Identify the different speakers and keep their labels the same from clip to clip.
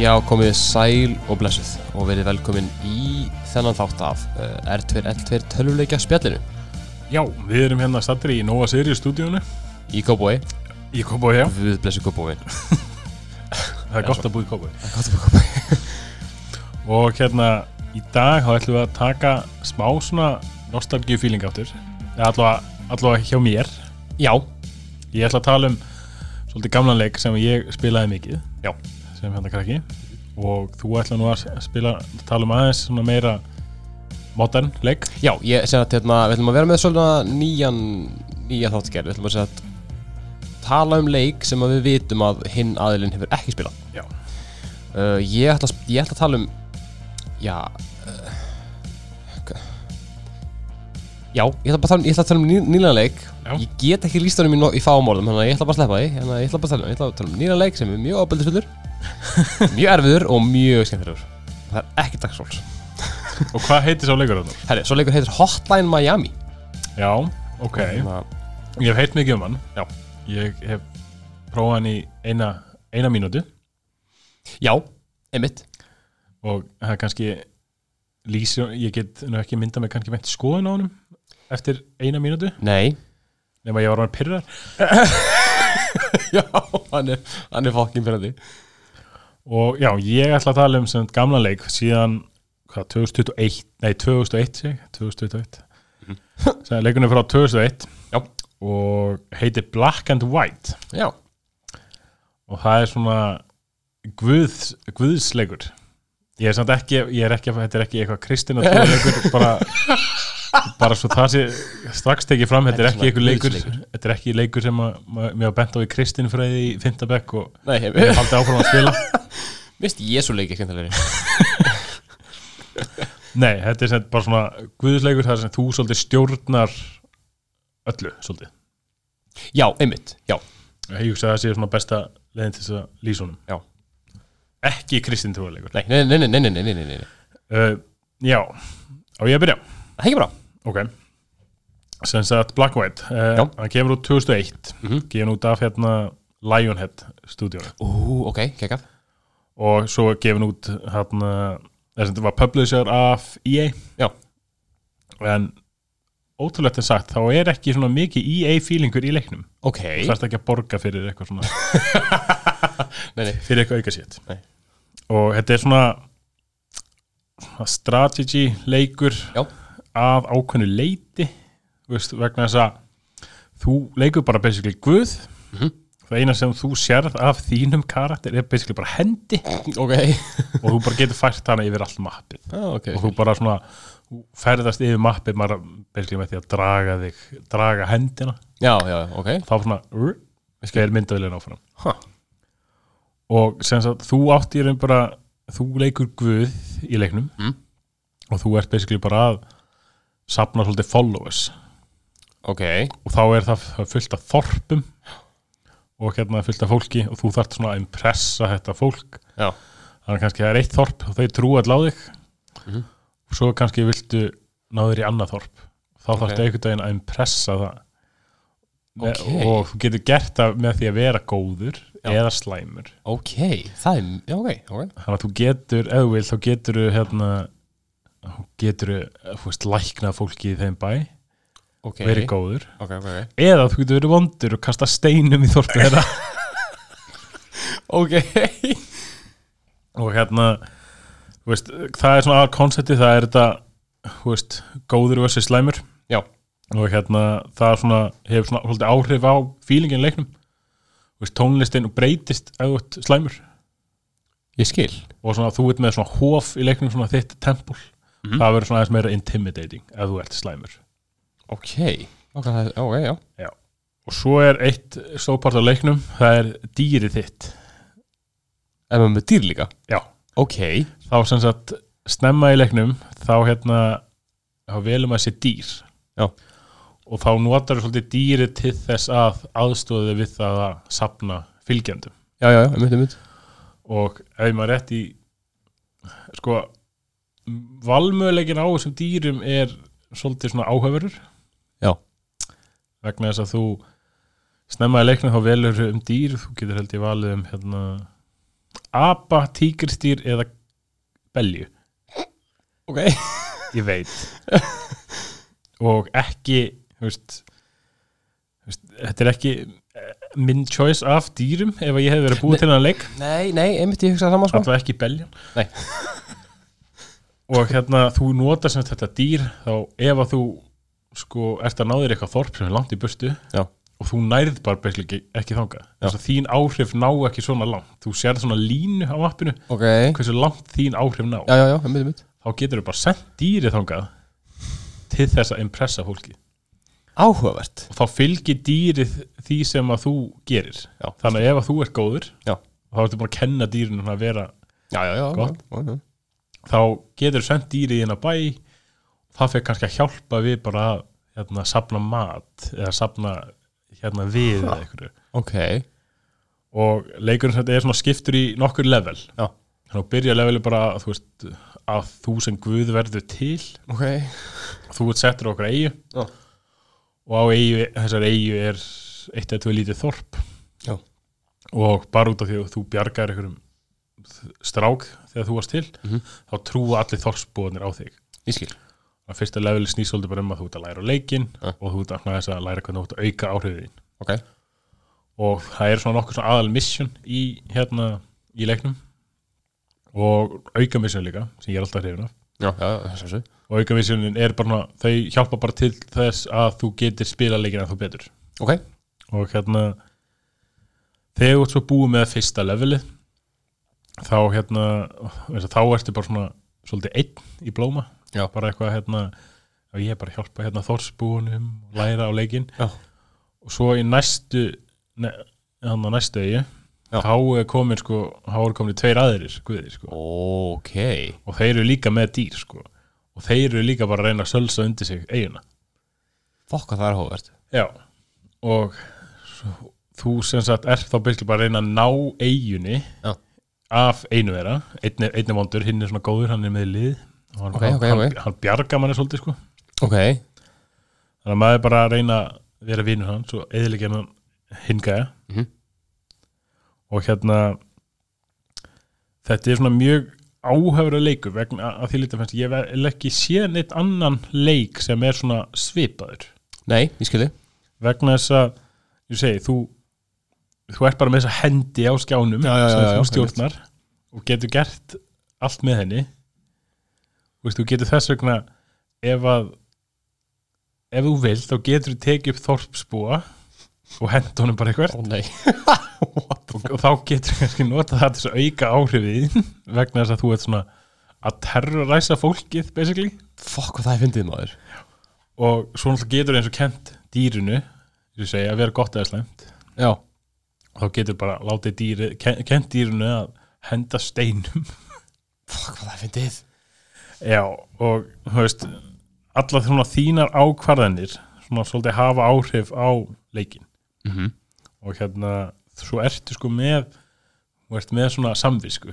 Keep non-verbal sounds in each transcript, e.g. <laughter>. Speaker 1: Já, komið sæl og blessuð og verið velkomin í þennan þátt af eh, R2L2 töluleikja spjallinu
Speaker 2: Já, við erum hérna stattir í Nova Sirius stúdíónu
Speaker 1: í Kóboi,
Speaker 2: í Kópói, já,
Speaker 1: við blessu Kóboi
Speaker 2: það er gott að búa í Kópói <laughs> og hérna í dag þá ætlum við að taka smá svona nostalgíu feeling áttur eða allavega, allavega hjá mér
Speaker 1: Já,
Speaker 2: ég ætla að tala um svolítið gamlan leik sem ég spilaði mikið
Speaker 1: Já.
Speaker 2: sem hérna krakki og þú ætla nú að spila, tala um aðeins svona meira modern leik
Speaker 1: já, ég segja að hérna, við ætlum að vera með svona nýjan, nýja þáttgerð Við ætlum að segja að tala um leik sem að við vitum að hinn aðilinn hefur ekki spilað
Speaker 2: Já.
Speaker 1: uh, ég, ætla, að sp- ég ætla að tala um, já, uh, k- já, ég ætla bara að tala um, ég ætla að tala um ný, nýlega leik
Speaker 2: Já.
Speaker 1: Ég get ekki líst honum í, no- í fámorðum, þannig að ég ætla bara að sleppa því Þannig að ég ætla bara að tala um, ég ætla að tala um nýlega leik sem er mjög ábældisfullur
Speaker 2: <laughs>
Speaker 1: Mjög erfiður og mjög skemmtilegur Það er ekki dagsfólks
Speaker 2: og hvað heitir sá leikur þarna?
Speaker 1: Herri, svo leikur heitir Hotline Miami
Speaker 2: Já, ok
Speaker 1: Þannig að-
Speaker 2: Ég hef heilt mikið um hann
Speaker 1: Já.
Speaker 2: Ég hef prófað hann í eina, eina mínútu
Speaker 1: Já, einmitt
Speaker 2: og það er kannski lýsi, ég get nú ekki mynda mig kannski meint skoðun á honum eftir eina mínútu
Speaker 1: Nei
Speaker 2: nema ég var hann pyrrar
Speaker 1: <laughs> Já, hann er, hann er fokkin fyrir því
Speaker 2: og já, ég ætla að tala um sem sagt gamlan leik síðan hvað, 2021, nei 2001 seg, 2021 mm -hmm. leikunum frá 2001
Speaker 1: Já.
Speaker 2: og heitir Black and White
Speaker 1: Já,
Speaker 2: og það er svona guðs, guðsleikur ég er samt ekki, ég er ekki þetta er ekki eitthvað kristin að leikur bara, bara svo það sé strax tekið fram, þetta er
Speaker 1: Þetta er
Speaker 2: ekki eitthvað
Speaker 1: svona
Speaker 2: leikur
Speaker 1: guðsleikur.
Speaker 2: þetta er ekki leikur sem að, ma- mér var bent á í kristinfræði í fimmtabekk og
Speaker 1: nei,
Speaker 2: ég
Speaker 1: einmitt
Speaker 2: haldi áfram að spila
Speaker 1: Mist Jésu leiki skemmtilegri
Speaker 2: nei, þetta er sem sagt bara svona guðsleikur það sem þú svolítið stjórnar öllu, svolítið
Speaker 1: Já, einmitt, já
Speaker 2: ég hugsa að það sé svona besta leiðin til þess að lýsa honum
Speaker 1: Já.
Speaker 2: ekki kristin trúarleikur
Speaker 1: Nei, nei, nei, nei, nei, nei, nei, nei, nei, nei.
Speaker 2: uh, já, á ég að byrja
Speaker 1: Það er ekki bra
Speaker 2: Ok Sem sagt Black White uh,
Speaker 1: Já.
Speaker 2: Hann kemur út 2001 mm
Speaker 1: Mhm.
Speaker 2: Gefin út af hérna Lionhead stúdíónu
Speaker 1: Ú, ok, kekkað
Speaker 2: Og svo gefin út hérna Þess að þetta var publisher af EA
Speaker 1: Já.
Speaker 2: En ótrúlegt er sagt Þá er ekki svona mikið EA feelingur í leiknum
Speaker 1: Ok
Speaker 2: Þú þarft ekki að borga fyrir eitthvað
Speaker 1: <laughs>
Speaker 2: svona
Speaker 1: Nei, nei
Speaker 2: Fyrir eitthvað auka sétt
Speaker 1: Nei.
Speaker 2: Og þetta er svona svona Strategy leikur
Speaker 1: Já,
Speaker 2: að ákveðnu leiti þú veist, vegna þess að þú leikur bara basically guð
Speaker 1: Mhm.
Speaker 2: það eina sem þú sérð af þínum karakter er basically bara hendi
Speaker 1: <laughs> ok
Speaker 2: og þú bara getur fært hana yfir allt mappið
Speaker 1: Já, ok
Speaker 2: og þú bara svona þú ferðast yfir mappið bara basically með því að draga þig draga hendina,
Speaker 1: Já, já, ok
Speaker 2: þá svona uh, er myndavillin áfram
Speaker 1: Ha.
Speaker 2: og sem sagt þú átt í raun bara þú leikur guð í leiknum
Speaker 1: Mm.
Speaker 2: og þú ert basically bara að sapna svolítið followers
Speaker 1: Ok
Speaker 2: og þá er það það er fullt af þorpum og hérna fullt af fólki og þú þarft svona að impressa þetta fólk
Speaker 1: Já
Speaker 2: þannig að kannski það er eitt þorp og þau trúa allá þig
Speaker 1: Mhm.
Speaker 2: og svo kannski viltu náður í annað þorp þá okay.
Speaker 1: Ok.
Speaker 2: þarftu einhvern veginn að impressa það Me-
Speaker 1: Ok.
Speaker 2: og þú getur gert það með því að vera góður
Speaker 1: Já.
Speaker 2: eða slæmur
Speaker 1: Ok, það er, já, ok, ok
Speaker 2: þannig að þú getur, ef þú vil þá getur hérna, þú getur þú veist, læknað fólki í þeim bæ
Speaker 1: Ok,
Speaker 2: verið góður
Speaker 1: Ok, ok, ok
Speaker 2: eða þú getur verið vondur og kasta steinum í þorpið þeirra
Speaker 1: Ok <laughs>
Speaker 2: og hérna þú veist, það er svona aðal konsepti það er þetta þú veist, góður versus slæmur
Speaker 1: Já.
Speaker 2: og hérna það svona, hefur svona svolítið áhrif á fílingin í leiknum Þú veist, tónlistin breytist ef þú ert slæmur
Speaker 1: Ég skil
Speaker 2: og svona, þú ert með svona hóf í leiknum svona þitt tempul
Speaker 1: Mhm.
Speaker 2: það verður svona aðeins meira intimidating ef þú ert slæmur
Speaker 1: Ok Ok, það er, ok, já
Speaker 2: og svo er eitt stópart á leiknum það er dýrið þitt
Speaker 1: En maður með dýr líka
Speaker 2: Já.
Speaker 1: Ok
Speaker 2: þá sem sagt snemma í leiknum þá hérna þá velum að sé dýr
Speaker 1: Já.
Speaker 2: og þá notar svolítið dýri til þess að aðstóðu við það að sapna fylgjendum
Speaker 1: Já, já, já, einmitt, einmitt
Speaker 2: og ef maður er rétt í sko valmöðuleikin á þessum dýrum er svolítið svona áhöfurur
Speaker 1: Já.
Speaker 2: vegna þess að þú snemma í leiknum þá velur um dýr þú getur held ég valið um hérna apa, tígristýr eða belju
Speaker 1: Ok
Speaker 2: ég veit <laughs> og ekki þú veist, þú veist, þetta er ekki eh, minn choice af dýrum ef ég hef verið að búa til hann leik
Speaker 1: Nei, nei, einmitt ég hugsaði saman sko
Speaker 2: alltaf ekki beljan
Speaker 1: Nei.
Speaker 2: <laughs> og hérna þú notar sem sagt þetta dýr þá ef að þú sko ert að ná þér eitthvað þorp sem er langt í burtu
Speaker 1: Já,
Speaker 2: og þú nærð bara basically ekki, ekki þangað þess að þín áhrif ná ekki svona langt þú sérð svona línu á appinu
Speaker 1: ok Já,
Speaker 2: hversu langt þín áhrif ná
Speaker 1: já, já, einmitt, einmitt
Speaker 2: þá getur þú bara sendt dýrið þangað til þess að impressa fólki
Speaker 1: Áhugavert
Speaker 2: og þá fylgir dýrið því sem að þú gerir
Speaker 1: Já.
Speaker 2: þannig að ef að þú ert góður
Speaker 1: Já.
Speaker 2: og þá ertu búin að kenna dýrinu að vera
Speaker 1: Já, já, já
Speaker 2: Gott.
Speaker 1: já, já.
Speaker 2: þá getur þú sendt dýrið inn að bæ og það fyrir kannski að hjálpa við bara að hérna, sapna mat eða sapna hérna, við eða einhverju
Speaker 1: Ok
Speaker 2: og leikurinn sem þetta er svona skiptur í nokkur level
Speaker 1: Já.
Speaker 2: þannig að byrja levelið bara þú veist, að þú sem guð verður til
Speaker 1: Ok
Speaker 2: þú ert settur á okkur eigu
Speaker 1: Já.
Speaker 2: og á eigu, þessar eigu er eitt eða tvö lítið þorp
Speaker 1: Já.
Speaker 2: og bara út af því að þú bjargar einhverjum strák þegar þú varst til
Speaker 1: Mhm.
Speaker 2: þá trúa allir þorpsbúðanir á þig
Speaker 1: Ég skil
Speaker 2: að fyrsta leveli snýsóldi bara um að þú ert að læra leikin
Speaker 1: Já.
Speaker 2: og þú ert að, svona þess að læra hvernig þú ert að auka áhrifin
Speaker 1: Ok
Speaker 2: og það er svona nokkuð svona aðal mission í hérna í leiknum og auka mission líka sem ég er alltaf hrifin af
Speaker 1: Já, já, já, þessu
Speaker 2: og auka missionin er bara svona- þau hjálpa bara til þess að þú getur spila leikina þú betur
Speaker 1: Ok
Speaker 2: og hérna þegar þú ert svo búið með fyrsta levelið þá hérna eins og þá ertu bara svona svolítið einn í blóma
Speaker 1: Já.
Speaker 2: bara eitthvað hérna og ég er bara að hjálpa hérna þorsbúunum og læra á leikinn
Speaker 1: Já.
Speaker 2: og svo í næstu ne, hann á næstu eigi
Speaker 1: Já.
Speaker 2: þá er komin sko, þá er komin tveir aðrir guðir sko
Speaker 1: Ok
Speaker 2: og þeir eru líka með dýr sko og þeir eru líka bara að reyna að sölsa undir sig eiguna
Speaker 1: Fokka það er áhugavert
Speaker 2: Já, og svo- þú sem sagt er þá byrjulega bara að reyna að ná eigunni
Speaker 1: Já.
Speaker 2: af einu þeirra, einni, einni vondur, hinn er svona góður, hann er með lið og hann,
Speaker 1: Ok, ok,
Speaker 2: hann,
Speaker 1: ok.
Speaker 2: hann bjarga manni svolítið sko
Speaker 1: Ok
Speaker 2: þannig að maður er bara að reyna að vera vinur hann svo eðilegja hann hingaði
Speaker 1: Mhm.
Speaker 2: og hérna þetta er svona mjög áhöfra leikur vegna að því lítið fannst ég hef ekki séð neitt annan leik sem er svona svipaður
Speaker 1: Nei, ég skil þið
Speaker 2: vegna þess að ég segi, þú, þú ert bara með þessa hendi á skjánum
Speaker 1: Já, já, já,
Speaker 2: sem
Speaker 1: já,
Speaker 2: þú stjórnar og getur gert allt með henni Þú veist, þú getur þess vegna ef að ef þú vilt þá getur þú tekið upp þorpsbúa og henda honum bara eitthvað
Speaker 1: Ó <laughs> nei
Speaker 2: og, og þá getur þú kannski notað það til þess að auka áhrifið þín vegna þess að þú ert svona að terroræsa fólkið basically
Speaker 1: Fokka það er fyndið maður
Speaker 2: og svo náttúrulega getur eins og kent dýrinu ég segi að vera gott eða slæmt
Speaker 1: Já
Speaker 2: þá getur bara látið dýri, ken- kennt dýrinu að henda steinum
Speaker 1: Fokka það er fyndið
Speaker 2: <laughs> já, og þú veist allar svona þínar ákvarðanir svona svolítið hafa áhrif á leikin
Speaker 1: mm -hmm.
Speaker 2: og hérna, svo ertu sko með þú ert með svona samvisku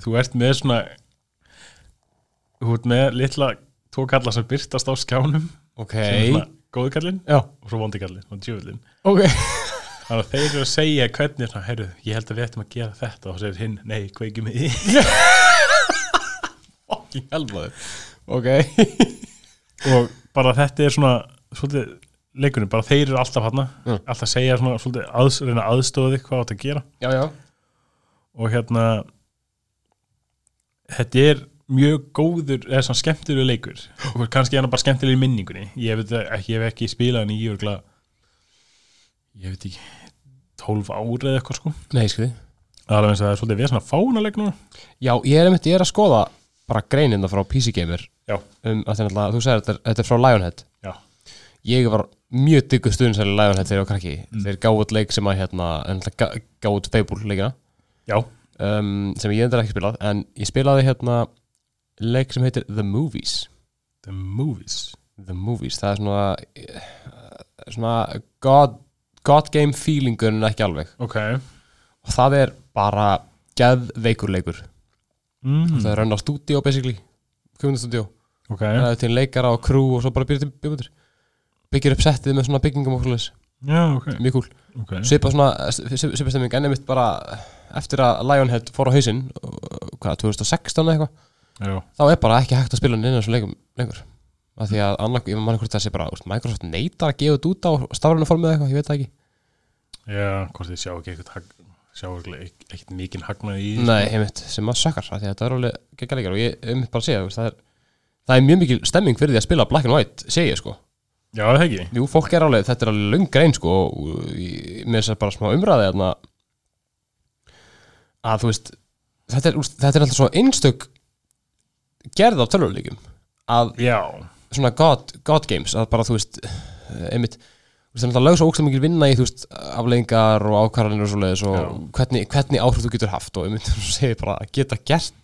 Speaker 2: þú ert með svona þú ert með litla tvo kalla sem byrtast á skjánum
Speaker 1: Ok
Speaker 2: sem er svona góðkallin
Speaker 1: Já
Speaker 2: og svo vondikallin og djöfullin
Speaker 1: Ok
Speaker 2: þannig að þeir eru að segja hvernig svona, heyrðu, ég held að við ættum að gera þetta og þá segir hinn, nei, kveikjum í
Speaker 1: Fucking helmaður Ok <laughs>
Speaker 2: og bara þetta er svona svolítið leikunum, bara þeir eru alltaf hann
Speaker 1: Mm.
Speaker 2: alltaf segja svona svolítið aðs, reyna að aðstóða þig hvað átt að gera
Speaker 1: Já, já
Speaker 2: og hérna þetta er mjög góður eða svona skemmtilegur leikur og kannski er hann bara skemmtilegur í minningunni ég veit það ekki, ég hef ekki spilað hann í örgla ég veit ekki 12 ára eða eitthvað sko
Speaker 1: Nei, ég skil þið
Speaker 2: það er alveg eins að það er svolítið við svona fánaleg núna
Speaker 1: Já, ég er einmitt, ég er að skoða bara greinina frá PC Gamer
Speaker 2: já,
Speaker 1: um, að þeim alltaf, þú segir þetta, er- þetta er frá Lionhead
Speaker 2: já,
Speaker 1: ég var mjög diggur stuðinsæli Lionhead þegar ég var krakki þeir gáðu út leik sem að hérna, en alltaf gá- gáfu út Fable leikina
Speaker 2: já,
Speaker 1: um, sem ég endur ekki spilað en ég spilaði hérna leik sem heitir The Movies
Speaker 2: the movies
Speaker 1: The Movies, það er svona eh, svona god, god game feelingur en ekki alveg
Speaker 2: ok
Speaker 1: og það er bara geðveikur leikur
Speaker 2: mm.
Speaker 1: það er raun á stúdíó basically kvöndastúdíó
Speaker 2: ok,
Speaker 1: Það er til leikara og krú og svo bara býr til byggundir byggir upp settið með svona byggingum og svoleiðis
Speaker 2: já, ok,
Speaker 1: mjög kúl
Speaker 2: ok
Speaker 1: svipa svona, svipa stemming en einmitt bara eftir að Lionhead fór á hausinn uh, hvað, 2016 eða eitthvað
Speaker 2: já,
Speaker 1: þá er bara ekki hægt að spila hann inn á þessum leikum lengur af því að annar, ég mann hvort það sé bara úst, Microsoft neitar að gefa þetta út á stafrænu formið eitthvað, ég veit það ekki
Speaker 2: já, hvort þið sjá ekki eitthvað hag- sjá ekki ekkert mikinn hagnaði í því,
Speaker 1: Nei, heimitt, sem að sökkar, af því að þetta er alveg geggjaleikar og ég um bara að segja, þú veist, það er það er mjög mikil stemming fyrir því að spila Black and White segi ég sko,
Speaker 2: sko. já, er það ekki,
Speaker 1: jú, fólk er alveg þetta er alveg löng grein sko og í- með þess að bara smá umræði þarna að þú veist þetta er, úst, þetta er alltaf svo einstök gerð af tölvuleikum að
Speaker 2: já
Speaker 1: svona god, god games að bara þú veist eh, einmitt þú veist, það er alltaf lög svo ókslega mikil vinna í þú veist afleggingar og ákvarðanir og svoleiðis
Speaker 2: Já.
Speaker 1: og hvernig, hvernig áhrif þú getur haft og einmitt <laughs> þú segir bara að geta gert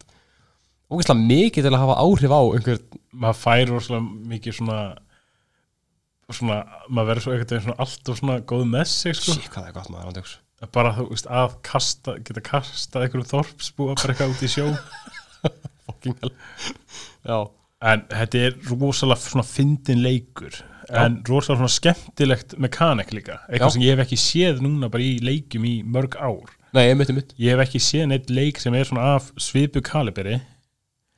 Speaker 1: ókslega mikið til að hafa áhrif á einhver
Speaker 2: maður fær rosalega mikið svona svona, maður verður svo eitthvað svona allt og svona góð með sig sko.
Speaker 1: sík hvað það er gott maður andjóks
Speaker 2: bara þú veist að kasta, geta kastað einhverjum þorpsbúa bara eitthvað út í
Speaker 1: <laughs>
Speaker 2: sjó
Speaker 1: fucking hell <laughs> já,
Speaker 2: en þetta er rosalega svona fyndin leikur en rosalega svona skemmtilegt mekanik líka eitthvað
Speaker 1: Já.
Speaker 2: sem ég hef ekki séð núna bara í leikjum í mörg ár
Speaker 1: nei, einmitt, einmitt
Speaker 2: ég hef ekki séð neitt leik sem er svona af svipu kaliberi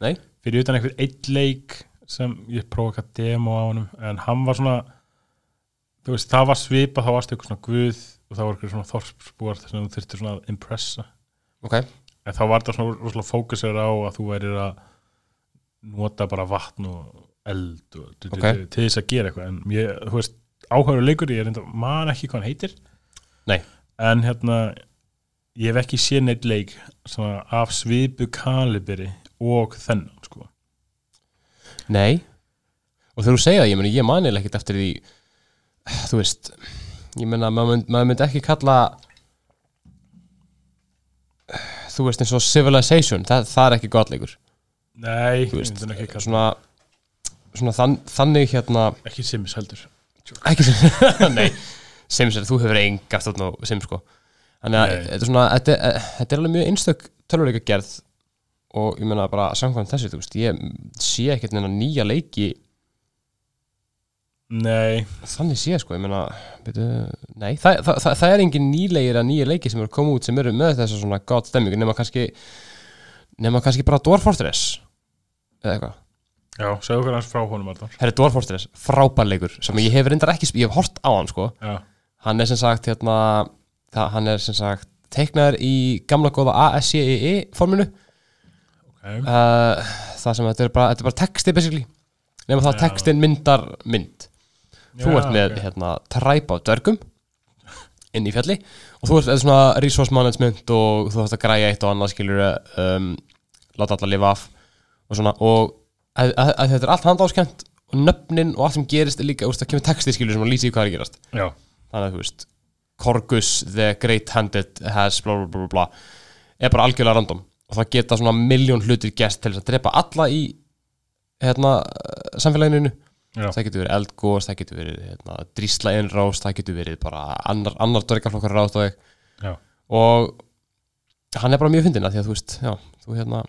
Speaker 1: nei,
Speaker 2: fyrir utan einhvern eitt leik sem ég prófa eitthvað demo á honum en hann var svona þú veist, það var svipa, þá varst eitthvað svona guð og það var eitthvað svona þorpsbúar sem þú þurftir svona að impressa
Speaker 1: ok,
Speaker 2: en þá var það svona rosalega fókusir á að þú værir að nota bara vatn og eld og du, du,
Speaker 1: Ok.
Speaker 2: du, til þess að gera eitthvað en ég, þú veist, áhæru leikur ég reynda, man ekki hvað hann heitir
Speaker 1: Nei.
Speaker 2: en hérna ég hef ekki séð neitt leik svona, af svipu kaliberi og þennan sko
Speaker 1: nei og þegar þú segir það, ég meni, ég manil ekkit eftir því þú veist ég meina, maður mynd- maður myndi ekki kalla þú veist eins og Civilization það, það er ekki godleikur
Speaker 2: Nei,
Speaker 1: þú veist, eh,
Speaker 2: myndi hann ekki, kalla-
Speaker 1: svona, svona þann, þannig hérna
Speaker 2: ekki Sims heldur
Speaker 1: ekki sem, <laughs> nei, Sims er, þú hefur enga stjórn á Sims sko þannig að
Speaker 2: Nei.
Speaker 1: þetta er svona, þetta er, þetta er alveg mjög einstök tölvuleika gerð og ég meina bara samkvæmt þessu, þú veist, ég sé ekkert neina nýja leiki
Speaker 2: Nei,
Speaker 1: þannig sé sko, ég meina byrju, nei, það, það, það, það er engin nýlegir að nýja leiki sem eru koma út sem eru með þessa svona gott stemmingu, nema kannski nema kannski bara Dwarf Fortress eða eitthvað
Speaker 2: já, segðu okkur hans frá honum Arnar
Speaker 1: Herri Dwarf Fortress, frábær leikur sem ég hef reyndar ekki, sp- ég hef hort á hann sko
Speaker 2: Já,
Speaker 1: hann er sem sagt hérna, það, hann er sem sagt teiknaður í gamla góða ASCII E forminu
Speaker 2: ok
Speaker 1: uh, það sem þetta er bara, þetta er bara texti basically nema það
Speaker 2: Já.
Speaker 1: að textin myndar mynd þú
Speaker 2: Já,
Speaker 1: ert með
Speaker 2: ok.
Speaker 1: hérna træp á dörgum inn í fjalli og þú ert eða svona resource management og þú þarfst að græja eitt og annað skilur um, láta alla lifa af og svona og að, að, að þetta er allt handáskjönt og nöfnin og allt sem gerist er líka, úst, það kemur texti skilur sem að lýsa í hvað er að gerast
Speaker 2: Já,
Speaker 1: þannig að þú veist Korgus the great handed has bla bla bla bla bla er bara algjörlega random og það geta svona miljón hlutir gest til þess að drepa alla í hérna, eh, samfélaginu
Speaker 2: já,
Speaker 1: það getur verið eldgós, það getur verið hérna, drísla innrás, það getur verið bara annar, annar dörgaflokkar rátt og,
Speaker 2: já
Speaker 1: og hann er bara mjög fyndin að því að þú veist já, þú hérna,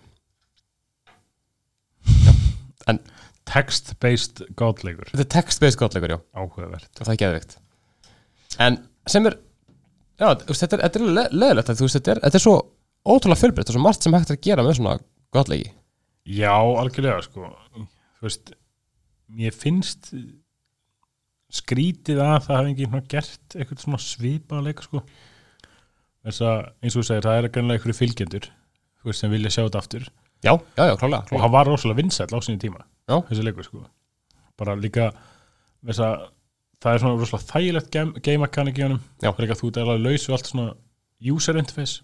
Speaker 2: Text-based godleikur
Speaker 1: þetta er text-based gottleikur já,
Speaker 2: Áhugavert
Speaker 1: og það er geðvikt en sem er já, þú veist, þetta er, þetta er le leðilegt að þú veist, þetta er, þetta er svo ótrúlega fjölbreytt og svo margt sem hægt er að gera með svona gottleiki
Speaker 2: Já, algjörlega sko Þú veist, mér finnst skrítið að það hafi enginn svona gert eitthvað svona svipað leik sko þess að, eins og þú segir, það er greinlega einhverju fylgjendur þú veist, sem vilja sjá þetta aftur
Speaker 1: já, já, já, klálega,
Speaker 2: og
Speaker 1: klálega.
Speaker 2: hann var rosalega vinsæll á sinni tíma
Speaker 1: Já.
Speaker 2: þessi leikur sko bara líka, þess að það er svona rosalega þægilegt game, game mechanic í honum
Speaker 1: Já.
Speaker 2: það er líka að þú ert alveg laus við allt svona user interface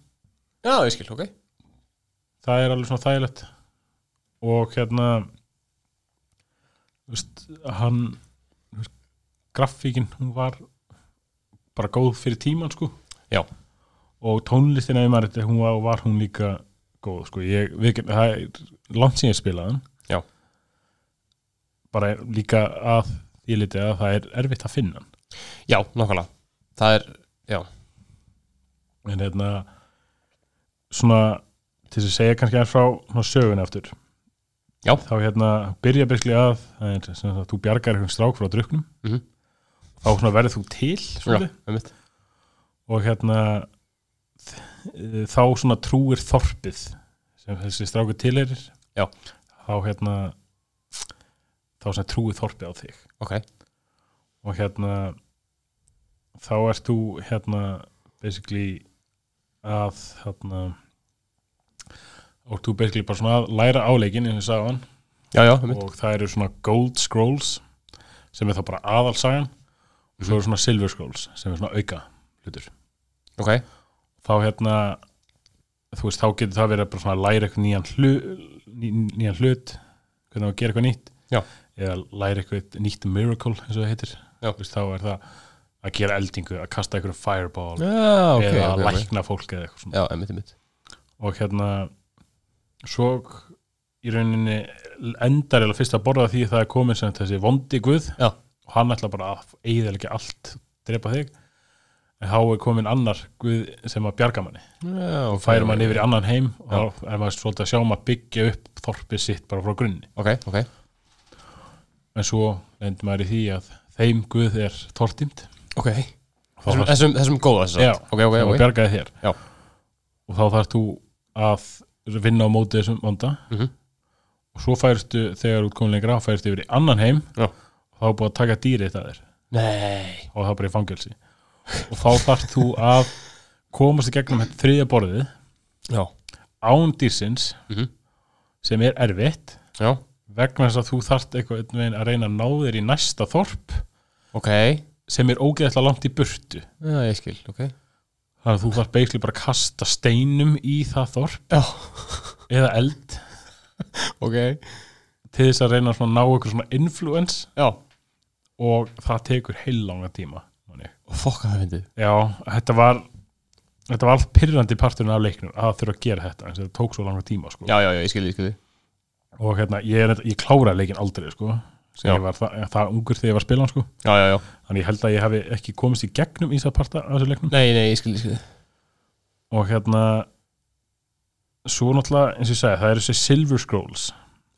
Speaker 1: já, ég skil, ok
Speaker 2: það er alveg svona þægilegt og hérna þú veist, hann þú veist, grafíkin, hún var bara góð fyrir tíman sko
Speaker 1: Já.
Speaker 2: og tónlistin ef maður þetta, hún var, var hún líka góð sko, ég, við, það er langt síðan ég spilaði hann
Speaker 1: Já.
Speaker 2: bara er líka að því liti að það er erfitt að finna hann
Speaker 1: já, nákvæmlega, það er
Speaker 2: en hérna svona til þess að segja kannski aðeins frá svona sögun aftur
Speaker 1: Já.
Speaker 2: þá hérna byrja byrkli að það er sem sagt, þú bjargar einhvern strák frá druknum
Speaker 1: Mhm.
Speaker 2: þá svona verður þú til
Speaker 1: Já,
Speaker 2: svona,
Speaker 1: einmitt.
Speaker 2: og hérna þ- þá svona trúir þorpið sem þessi stráku tilerir
Speaker 1: Já.
Speaker 2: þá hérna þá svona trúir þorpið á þig
Speaker 1: ok,
Speaker 2: og hérna þá ert þú hérna basically að hérna og þú basically bara svona að læra áleikin eins og sagðan
Speaker 1: já, já, einmitt.
Speaker 2: og það eru svona gold scrolls sem er þá bara aðalsagan og svo eru svona silver scrolls sem er svona auka hlutur
Speaker 1: ok,
Speaker 2: þá hérna þú veist þá getur það verið að bara svona læra eitthvað nýjan hlut, ný, nýjan hlut hvernig á að gera eitthvað nýtt
Speaker 1: Já.
Speaker 2: eða læra eitthvað nýtt miracle eins og það heitir
Speaker 1: Já.
Speaker 2: Þú veist, þá er það að gera eldingu, að kasta eitthvað fireball
Speaker 1: já, ok,
Speaker 2: eða að
Speaker 1: ok, ok.
Speaker 2: lækna fólk eða eitthvað svona
Speaker 1: já, einmitt, einmitt
Speaker 2: og hérna svo í rauninni endar eða fyrst að borða því að það er komin sem þessi vondi guð
Speaker 1: Já.
Speaker 2: og hann ætla bara að eigðilega allt drepa þig en þá er komin annar guð sem að bjarga manni
Speaker 1: já, ok,
Speaker 2: færir
Speaker 1: ok.
Speaker 2: mann yfir í annan heim og þá er maður svolítið að sjá um að byggja upp þorpið sitt bara frá grunni
Speaker 1: ok, ok,
Speaker 2: en svo lendur maður í því að þeim guð er tortimt
Speaker 1: ok þessum, þessum, þessum góða þess
Speaker 2: Já,
Speaker 1: ok, ok,
Speaker 2: og
Speaker 1: ok,
Speaker 2: bjargaði þér
Speaker 1: Já.
Speaker 2: og þá þarf þú að vinna á móti þessum vanda
Speaker 1: Mhm.
Speaker 2: og svo færistu þegar út komin lengra færistu yfir í annan heim
Speaker 1: Já.
Speaker 2: og þá er búið að taka dýrið það þér
Speaker 1: nei
Speaker 2: og það er bara í fangelsi og þá þarf þú að komast í gegnum þetta þriðja borðið
Speaker 1: já,
Speaker 2: án dýrsins
Speaker 1: Mhm.
Speaker 2: sem er erfitt
Speaker 1: já,
Speaker 2: vegna þess að þú þarft eitthvað einhvern veginn að reyna að ná þér í næsta þorp
Speaker 1: ok já,
Speaker 2: sem er ógeðslega langt í burtu
Speaker 1: ég skil, ok
Speaker 2: þannig að þú þarft basically bara að kasta steinum í það þorp
Speaker 1: já,
Speaker 2: eða eld
Speaker 1: ok,
Speaker 2: til þess að reyna svona að ná eitthvað svona influence
Speaker 1: já
Speaker 2: og það tekur heillanga tíma man ég.
Speaker 1: og fokka það fyndið
Speaker 2: já, þetta var þetta var allt pyrrandi parturinn af leiknum að þurfa að gera þetta, en þetta tók svo langa tíma sko.
Speaker 1: já, já, já, ég skil, ég skil
Speaker 2: og hérna, ég, er, ég kláraði leikin aldrei sko. sem
Speaker 1: Já.
Speaker 2: ég var það, það ungur þegar ég var að spila hann sko.
Speaker 1: já, já, já,
Speaker 2: þannig ég held að ég hafi ekki komist í gegnum í þess að parta af þessu leiknum
Speaker 1: nei, nei, ég skil, ég skil
Speaker 2: og hérna svo náttúrulega, eins og ég segi, það eru þessi Silver Scrolls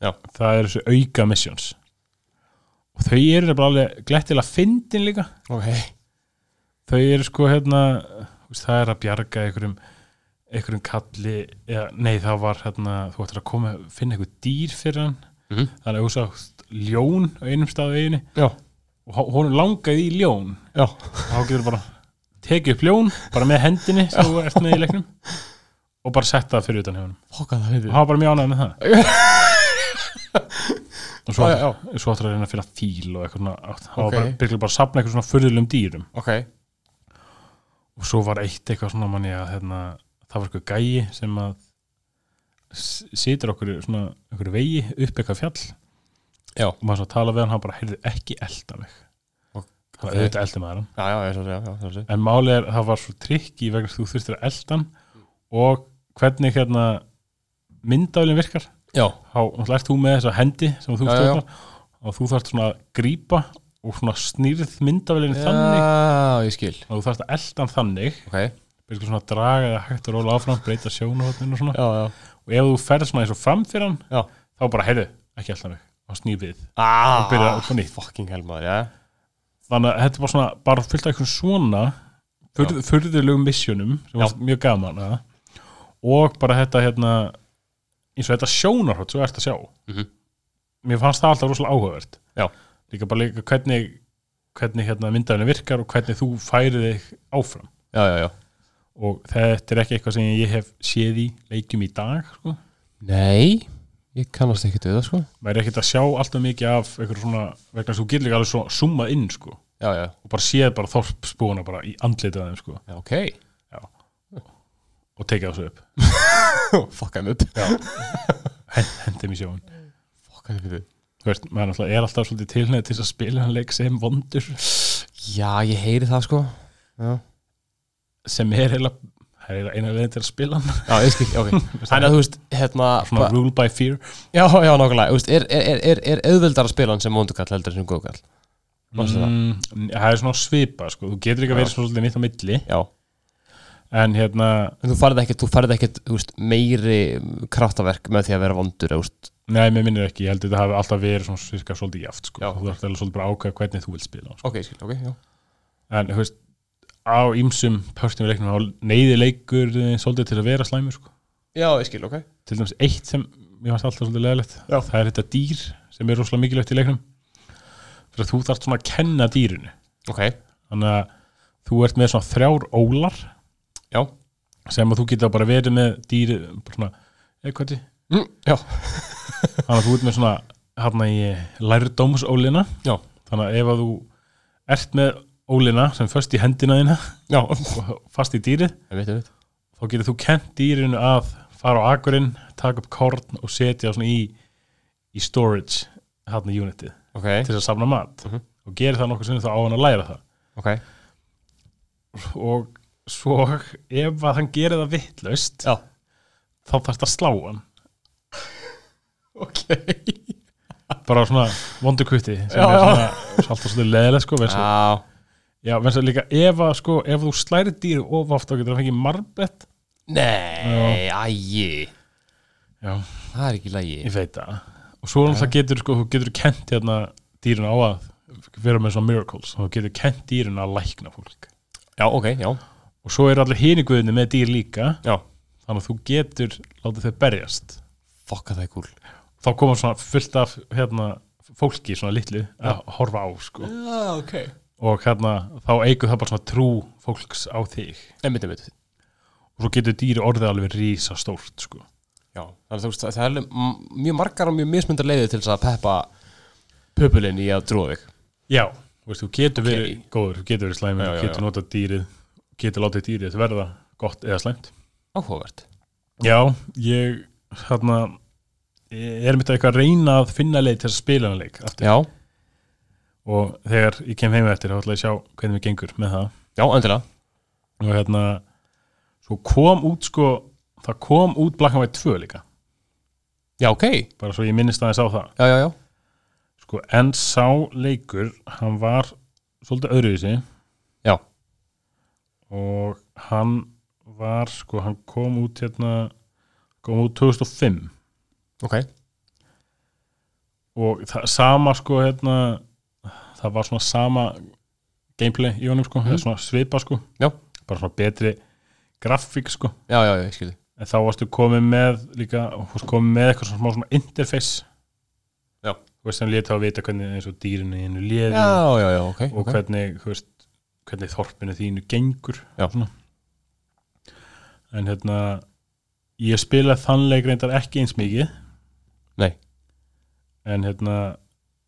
Speaker 1: Já.
Speaker 2: það eru þessi auka missions og þau eru bara alveg glettilega fyndin líka
Speaker 1: ok,
Speaker 2: þau eru sko hérna þú veist, það er að bjarga einhverjum einhverjum kalli eða, nei það var hérna, þú ættir að koma finna einhver dýr fyrir hann
Speaker 1: Mhm.
Speaker 2: þannig að þú sást ljón á einum stað á einu
Speaker 1: já,
Speaker 2: og hún langaði í ljón
Speaker 1: já
Speaker 2: þá getur bara tekið upp ljón bara með hendinni sem þú ert með í leiknum og bara sett það fyrir utan hjá hann
Speaker 1: fokka það fyndið
Speaker 2: og hafa bara mjög ánægð með
Speaker 1: <laughs>
Speaker 2: það og svo,
Speaker 1: Já, já,
Speaker 2: svo ættir að reyna að finna fíl og eitthvað svona, okay.
Speaker 1: Ok.
Speaker 2: og bara, byrjulega bara að safna eitthvað svona furðulegum dýrum
Speaker 1: ok,
Speaker 2: og svo var eitt eitthvað svona manni að hérna, það var eitthvað gæi sem að s- situr okkur í svona okkur vegi upp eitthvað fjall
Speaker 1: Já.
Speaker 2: og maður svo að tala við hann, hann bara heyrði ekki elda mig
Speaker 1: Ok.
Speaker 2: það er auðvitað eldi maður hann
Speaker 1: já, já, ég svo að segja, já, svo að segja
Speaker 2: en málið er að það var svo trikk í vegna þess að þú þurftir að elda hann og hvernig hérna myndavlinn virkar
Speaker 1: já,
Speaker 2: þá náttúrulega ert þú með þessa hendi sem
Speaker 1: Já,
Speaker 2: þú
Speaker 1: já, já.
Speaker 2: stjórnar og þú þarft svona að grípa og svona snýrð myndavlinn þannig
Speaker 1: já, ég skil
Speaker 2: og þú þarft að elda hann þannig
Speaker 1: ok, já,
Speaker 2: byrjum svona að draga eða hægt að róla áfram breyta sjónahotninu og svona
Speaker 1: já,
Speaker 2: og ef þú ferð svona eins og fram fyrir hann
Speaker 1: já
Speaker 2: þá bara heyrðu, ekki alltaf mig og snýr við
Speaker 1: ah,
Speaker 2: byrjar upp á nýtt.
Speaker 1: fucking helmaður, já
Speaker 2: þannig að þetta var svona bara fyllt af einhvern svona furð, furðulegum missionum sem var mjög gaman að. og bara þetta hérna eins og þetta sjónarhótt svo ert að sjá
Speaker 1: Mhm.
Speaker 2: mér fannst það alltaf rosalega áhugavert
Speaker 1: Já.
Speaker 2: líka bara líka hvernig hvernig hérna myndafinu virkar og hvernig þú færið þig áfram
Speaker 1: já, já, já
Speaker 2: og þetta er ekki eitthvað sem ég hef séð í leikjum í dag sko.
Speaker 1: Nei, ég kannast ekki döða sko
Speaker 2: maður er ekkert að sjá alltaf mikið af einhverju svona, vegna þess að þú getur líka alveg svona summað inn sko,
Speaker 1: Já, já,
Speaker 2: og bara séð bara þorpsbúna bara í andlitið af þeim sko,
Speaker 1: já, ok
Speaker 2: og tekið þessu upp
Speaker 1: <laughs> Fuck hann upp
Speaker 2: hendum í sjóun,
Speaker 1: Fuck hann upp í þau
Speaker 2: þú veist, maður náttúrulega er alltaf svolítið tilnæð til þess að spila hann leik sem vondur
Speaker 1: Já, ég heyri það sko Já,
Speaker 2: sem er heila, það er heila eina leiðin til að spila hann,
Speaker 1: já ég skil, <laughs> ok Þannig að þú veist, hérna
Speaker 2: svona
Speaker 1: hva-
Speaker 2: rule by fear
Speaker 1: Já, já, nákvæmlega, þú veist, er, er, er, er, er auðveldar að spila hann sem vondukall heldur en sem góðkall Manstu það?
Speaker 2: mm, það er svona svipa sko, þú getur ekki að vera svolítið nýtt á milli
Speaker 1: Já,
Speaker 2: en hérna,
Speaker 1: en þú farið ekkert, þú farið ekkert, þú veist, meiri kraftaverk með því að vera vondur, þú veist
Speaker 2: nei, mér minnir ekki, ég held að þetta hafi alltaf verið svona svirka svolítið jaft sko,
Speaker 1: Já.
Speaker 2: þú þarf alltaf svolítið bara að ákveða hvernig þú vilt spila hann, sko.
Speaker 1: Ok, ég skil, ok, já
Speaker 2: en þú veist á ýmsum pörstum í leiknum þá neyði leikur eh, svolítið til að vera slæmur sko.
Speaker 1: Já, ég skil, ok
Speaker 2: til dæmis eitt sem mér fannst alltaf svolítið leðilegt
Speaker 1: Já.
Speaker 2: það er þetta dýr sem er rosalega mikilvægt í leiknum fyrir að þú þarft svona að kenna dýrinu
Speaker 1: Ok,
Speaker 2: þannig að þú ert með svona þrjár ólar
Speaker 1: já
Speaker 2: sem að þú geta bara verið með dýri bara svona, eða hvað er þetta?
Speaker 1: mm, Já,
Speaker 2: þannig að þú ert með svona hérna í lærdómsólina
Speaker 1: já,
Speaker 2: þannig að ef að þú ert með ólina sem först í hendina þína
Speaker 1: já
Speaker 2: og fast í dýrið
Speaker 1: Ég veit, ég veit
Speaker 2: þá getur þú kent dýrinu að fara á akurinn, taka upp korn og setja það svona í, í storage hérna í unitið
Speaker 1: Ok,
Speaker 2: til þess að safna mat
Speaker 1: Mhm.
Speaker 2: og gerir það nokkuð sinni þá á hann að læra það
Speaker 1: ok
Speaker 2: og svo ef að hann gerir það vittlaust
Speaker 1: Já
Speaker 2: þá þarf það að slá hann
Speaker 1: Ok
Speaker 2: bara svona vondurkutti sem
Speaker 1: Já,
Speaker 2: er
Speaker 1: já.
Speaker 2: svona svo alltaf svolítið leðilega sko, vegna þess að-
Speaker 1: Já,
Speaker 2: já, vegna þess að líka ef, að, sko, ef þú slæri dýri of oft þá getur það fengið marbett
Speaker 1: nei, ægi
Speaker 2: já,
Speaker 1: Það er ekki lægi
Speaker 2: ég veit það og svo um það getur sko, þú getur kent hérna dýrin á að vera með svona miracles þú getur kent dýrin að lækna fólk
Speaker 1: Já, ok, já
Speaker 2: og svo eru allir hiniguðinni með dýr líka
Speaker 1: Já
Speaker 2: þannig að þú getur látið þau berjast
Speaker 1: Fokka það er cool
Speaker 2: þá koma svona fullt af hérna, fólki svona litlu að horfa á sko.
Speaker 1: Já, ok
Speaker 2: og hérna, þá eigur það bara svona trú fólks á þig
Speaker 1: Einmitt, einmitt
Speaker 2: og svo getur dýri orðið alveg rísa stórt sko.
Speaker 1: Já, þannig að þú veist, það er alveg m- mjög margar og mjög mismyndar leiðið til þess að peppa pöpulinn í að trúa þig
Speaker 2: já, þú veist, þú getur verið
Speaker 1: Ok.
Speaker 2: góður, þú getur verið slæmur,
Speaker 1: Já, já,
Speaker 2: þú getur
Speaker 1: já.
Speaker 2: notað dýrið getur látið dýrið verða gott eða slæmt
Speaker 1: Áhugavert
Speaker 2: já, ég hérna ég er mitt að eitthvað að reyna að finna leið til að spila hann leik aftur.
Speaker 1: Já,
Speaker 2: og þegar ég kem heim eftir þá ætla ég að sjá hvernig við gengur með það
Speaker 1: já, endilega
Speaker 2: og hérna svo kom út sko það kom út Black and White 2 líka
Speaker 1: Já, ok Já,
Speaker 2: bara svo ég minnist aðeins á það
Speaker 1: já, já
Speaker 2: sko, en sá leikur hann var svolítið öðruvísi
Speaker 1: Já,
Speaker 2: og hann var sko, hann kom út hérna kom út 2005
Speaker 1: ok
Speaker 2: og það sama sko hérna það var svona sama gameplay í honum sko, eða svona svipa sko
Speaker 1: Mm. Já.
Speaker 2: bara svona betri grafík sko
Speaker 1: Já, já, já, ég skilði
Speaker 2: en þá varstu komið með líka, þú varst komið með eitthvað svona, smá svona interface
Speaker 1: Já.
Speaker 2: þú veist, sem létt þá að vita hvernig eins og dýrinu í einu liði
Speaker 1: Já, já, já, ok,
Speaker 2: og
Speaker 1: ok
Speaker 2: hvernig, þú veist, hvernig þorpinu þínu gengur
Speaker 1: Já.
Speaker 2: svona. en hérna ég spila þannleik reyndar ekki eins mikið
Speaker 1: Nei.
Speaker 2: en hérna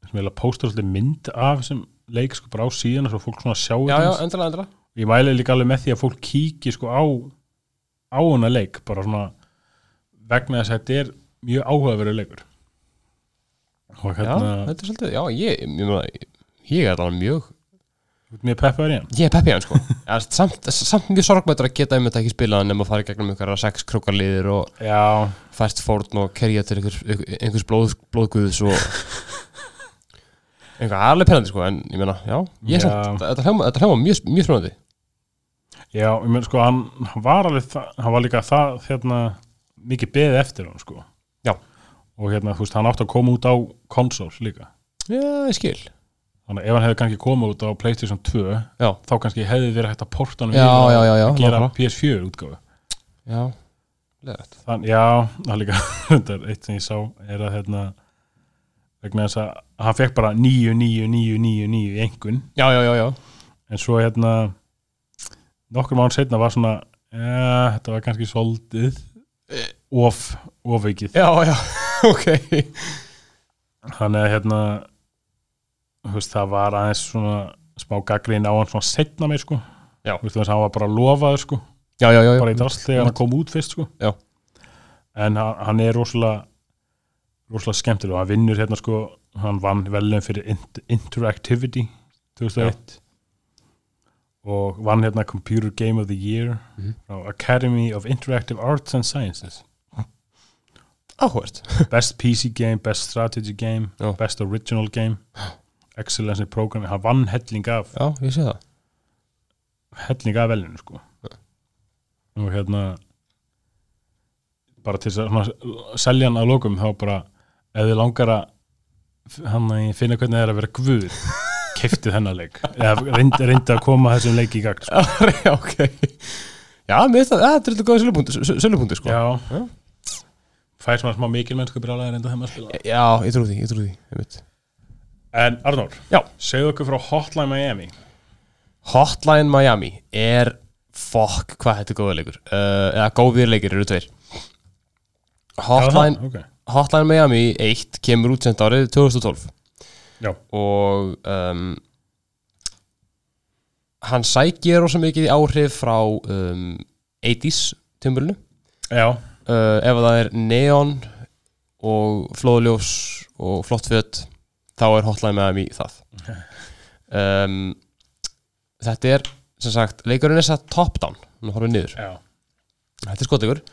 Speaker 2: sem ég postur alltaf mynd af þessum leik sko bara á síðan svo fólk svona sjáu
Speaker 1: Já,
Speaker 2: þetta
Speaker 1: já,
Speaker 2: aðeins.
Speaker 1: endilega, endilega
Speaker 2: ég mæli líka alveg með því að fólk kíki sko á á hana leik bara svona vegna þess að þetta er mjög áhugaverið leikur
Speaker 1: Já,
Speaker 2: og hérna,
Speaker 1: þetta er svolítið, já, ég, ég, meina, ég, ég er alveg mjög
Speaker 2: þú ert mjög peppaður í hann
Speaker 1: Ég er peppið hann <laughs> sko Já, samt, samt mjög sorgmættur að geta einmitt ekki spilað hann nema að fara í gegnum einhverja sex krókarliðir og
Speaker 2: já,
Speaker 1: fært fórn og kerja til einhvers, einhvers blóð, blóðguðs <laughs> og einhver alveg penandi sko en ég meina, já, ég er
Speaker 2: Já.
Speaker 1: samt þetta hljóma, þetta hljóma mjög, mjög spennandi
Speaker 2: Já, ég menn sko, hann, hann var alveg það, hann var líka það, hérna mikið beðið eftir hann, sko
Speaker 1: Já.
Speaker 2: Og hérna, þú veist, hann átti að koma út á konsól líka
Speaker 1: Já, ég skil
Speaker 2: Þannig að ef hann hefði kannski komið út á Playstation 2
Speaker 1: Já.
Speaker 2: Þá kannski hefði verið hægt að porta hann
Speaker 1: Já, já, já, já,
Speaker 2: að gera
Speaker 1: nákvæmlega.
Speaker 2: PS4 útgáfu
Speaker 1: Já, leðrætt
Speaker 2: Þannig, já, það er líka, <laughs> þetta er eitt sem ég sá er að, hérna vegna þess að hann fekk bara 9, 9, 9, 9, 9 engun
Speaker 1: Já, já, já, já
Speaker 2: en svo hérna nokkur mánu setna var svona ja, þetta var kannski soldið of, ofveikið
Speaker 1: Já, <laughs> já, ok
Speaker 2: þannig að hérna þú veist, það var aðeins svona smá gaggrín á hann svona setna meir sko
Speaker 1: Já.
Speaker 2: Þú veist, þannig að hann var bara lofaður sko
Speaker 1: Já, já, já, já,
Speaker 2: bara í drast þegar hann kom út fyrst sko
Speaker 1: Já.
Speaker 2: en hann, hann er rosalega rosalega skemmtilega og hann vinnur hérna sko hann vann velum fyrir int Interactivity 2001 og vann hérna Computer Game of the Year
Speaker 1: Mhm.
Speaker 2: frá Academy of Interactive Arts and Sciences
Speaker 1: áhvert
Speaker 2: Best PC Game, Best Strategy Game
Speaker 1: Já.
Speaker 2: Best Original Game Excellence in Programming, hann vann helling af
Speaker 1: Já, ég sé <laughs> það
Speaker 2: helling af velinu sko og hérna bara til þess að svona, selja hann að <laughs> lokum þá bara ef þið langar að f- hann að finna hvernig það er að vera guð kefti þennan leik eða reyndi, reyndi að koma þessum leik í gagn sko.
Speaker 1: Já, ok Já, mér finnst það, það er dröldu góða sölupunktur, sölupunktur sko.
Speaker 2: já fær svona smá mikil mennsku brálega reynda þeim að spila
Speaker 1: Já, ég trú því, ég trú því einmitt.
Speaker 2: en Arnór,
Speaker 1: Já.
Speaker 2: segðu okkur frá Hotline Miami
Speaker 1: Hotline Miami er fokk hvað þetta er góða leikur uh, eða góðir leikir eru tveir Hotline,
Speaker 2: já, það, ok.
Speaker 1: Hotline Miami 1 kemur út sent árið 2012
Speaker 2: já,
Speaker 1: og um, hann sækir rosa mikið í áhrif frá um, 80s timbrunu
Speaker 2: já,
Speaker 1: uh, ef það er neon og flóðljós og flott fjöld þá er hotline með mér það um, þetta er sem sagt, leikurinn er satt top down nú horfum við niður,
Speaker 2: já,
Speaker 1: þetta er skotleikur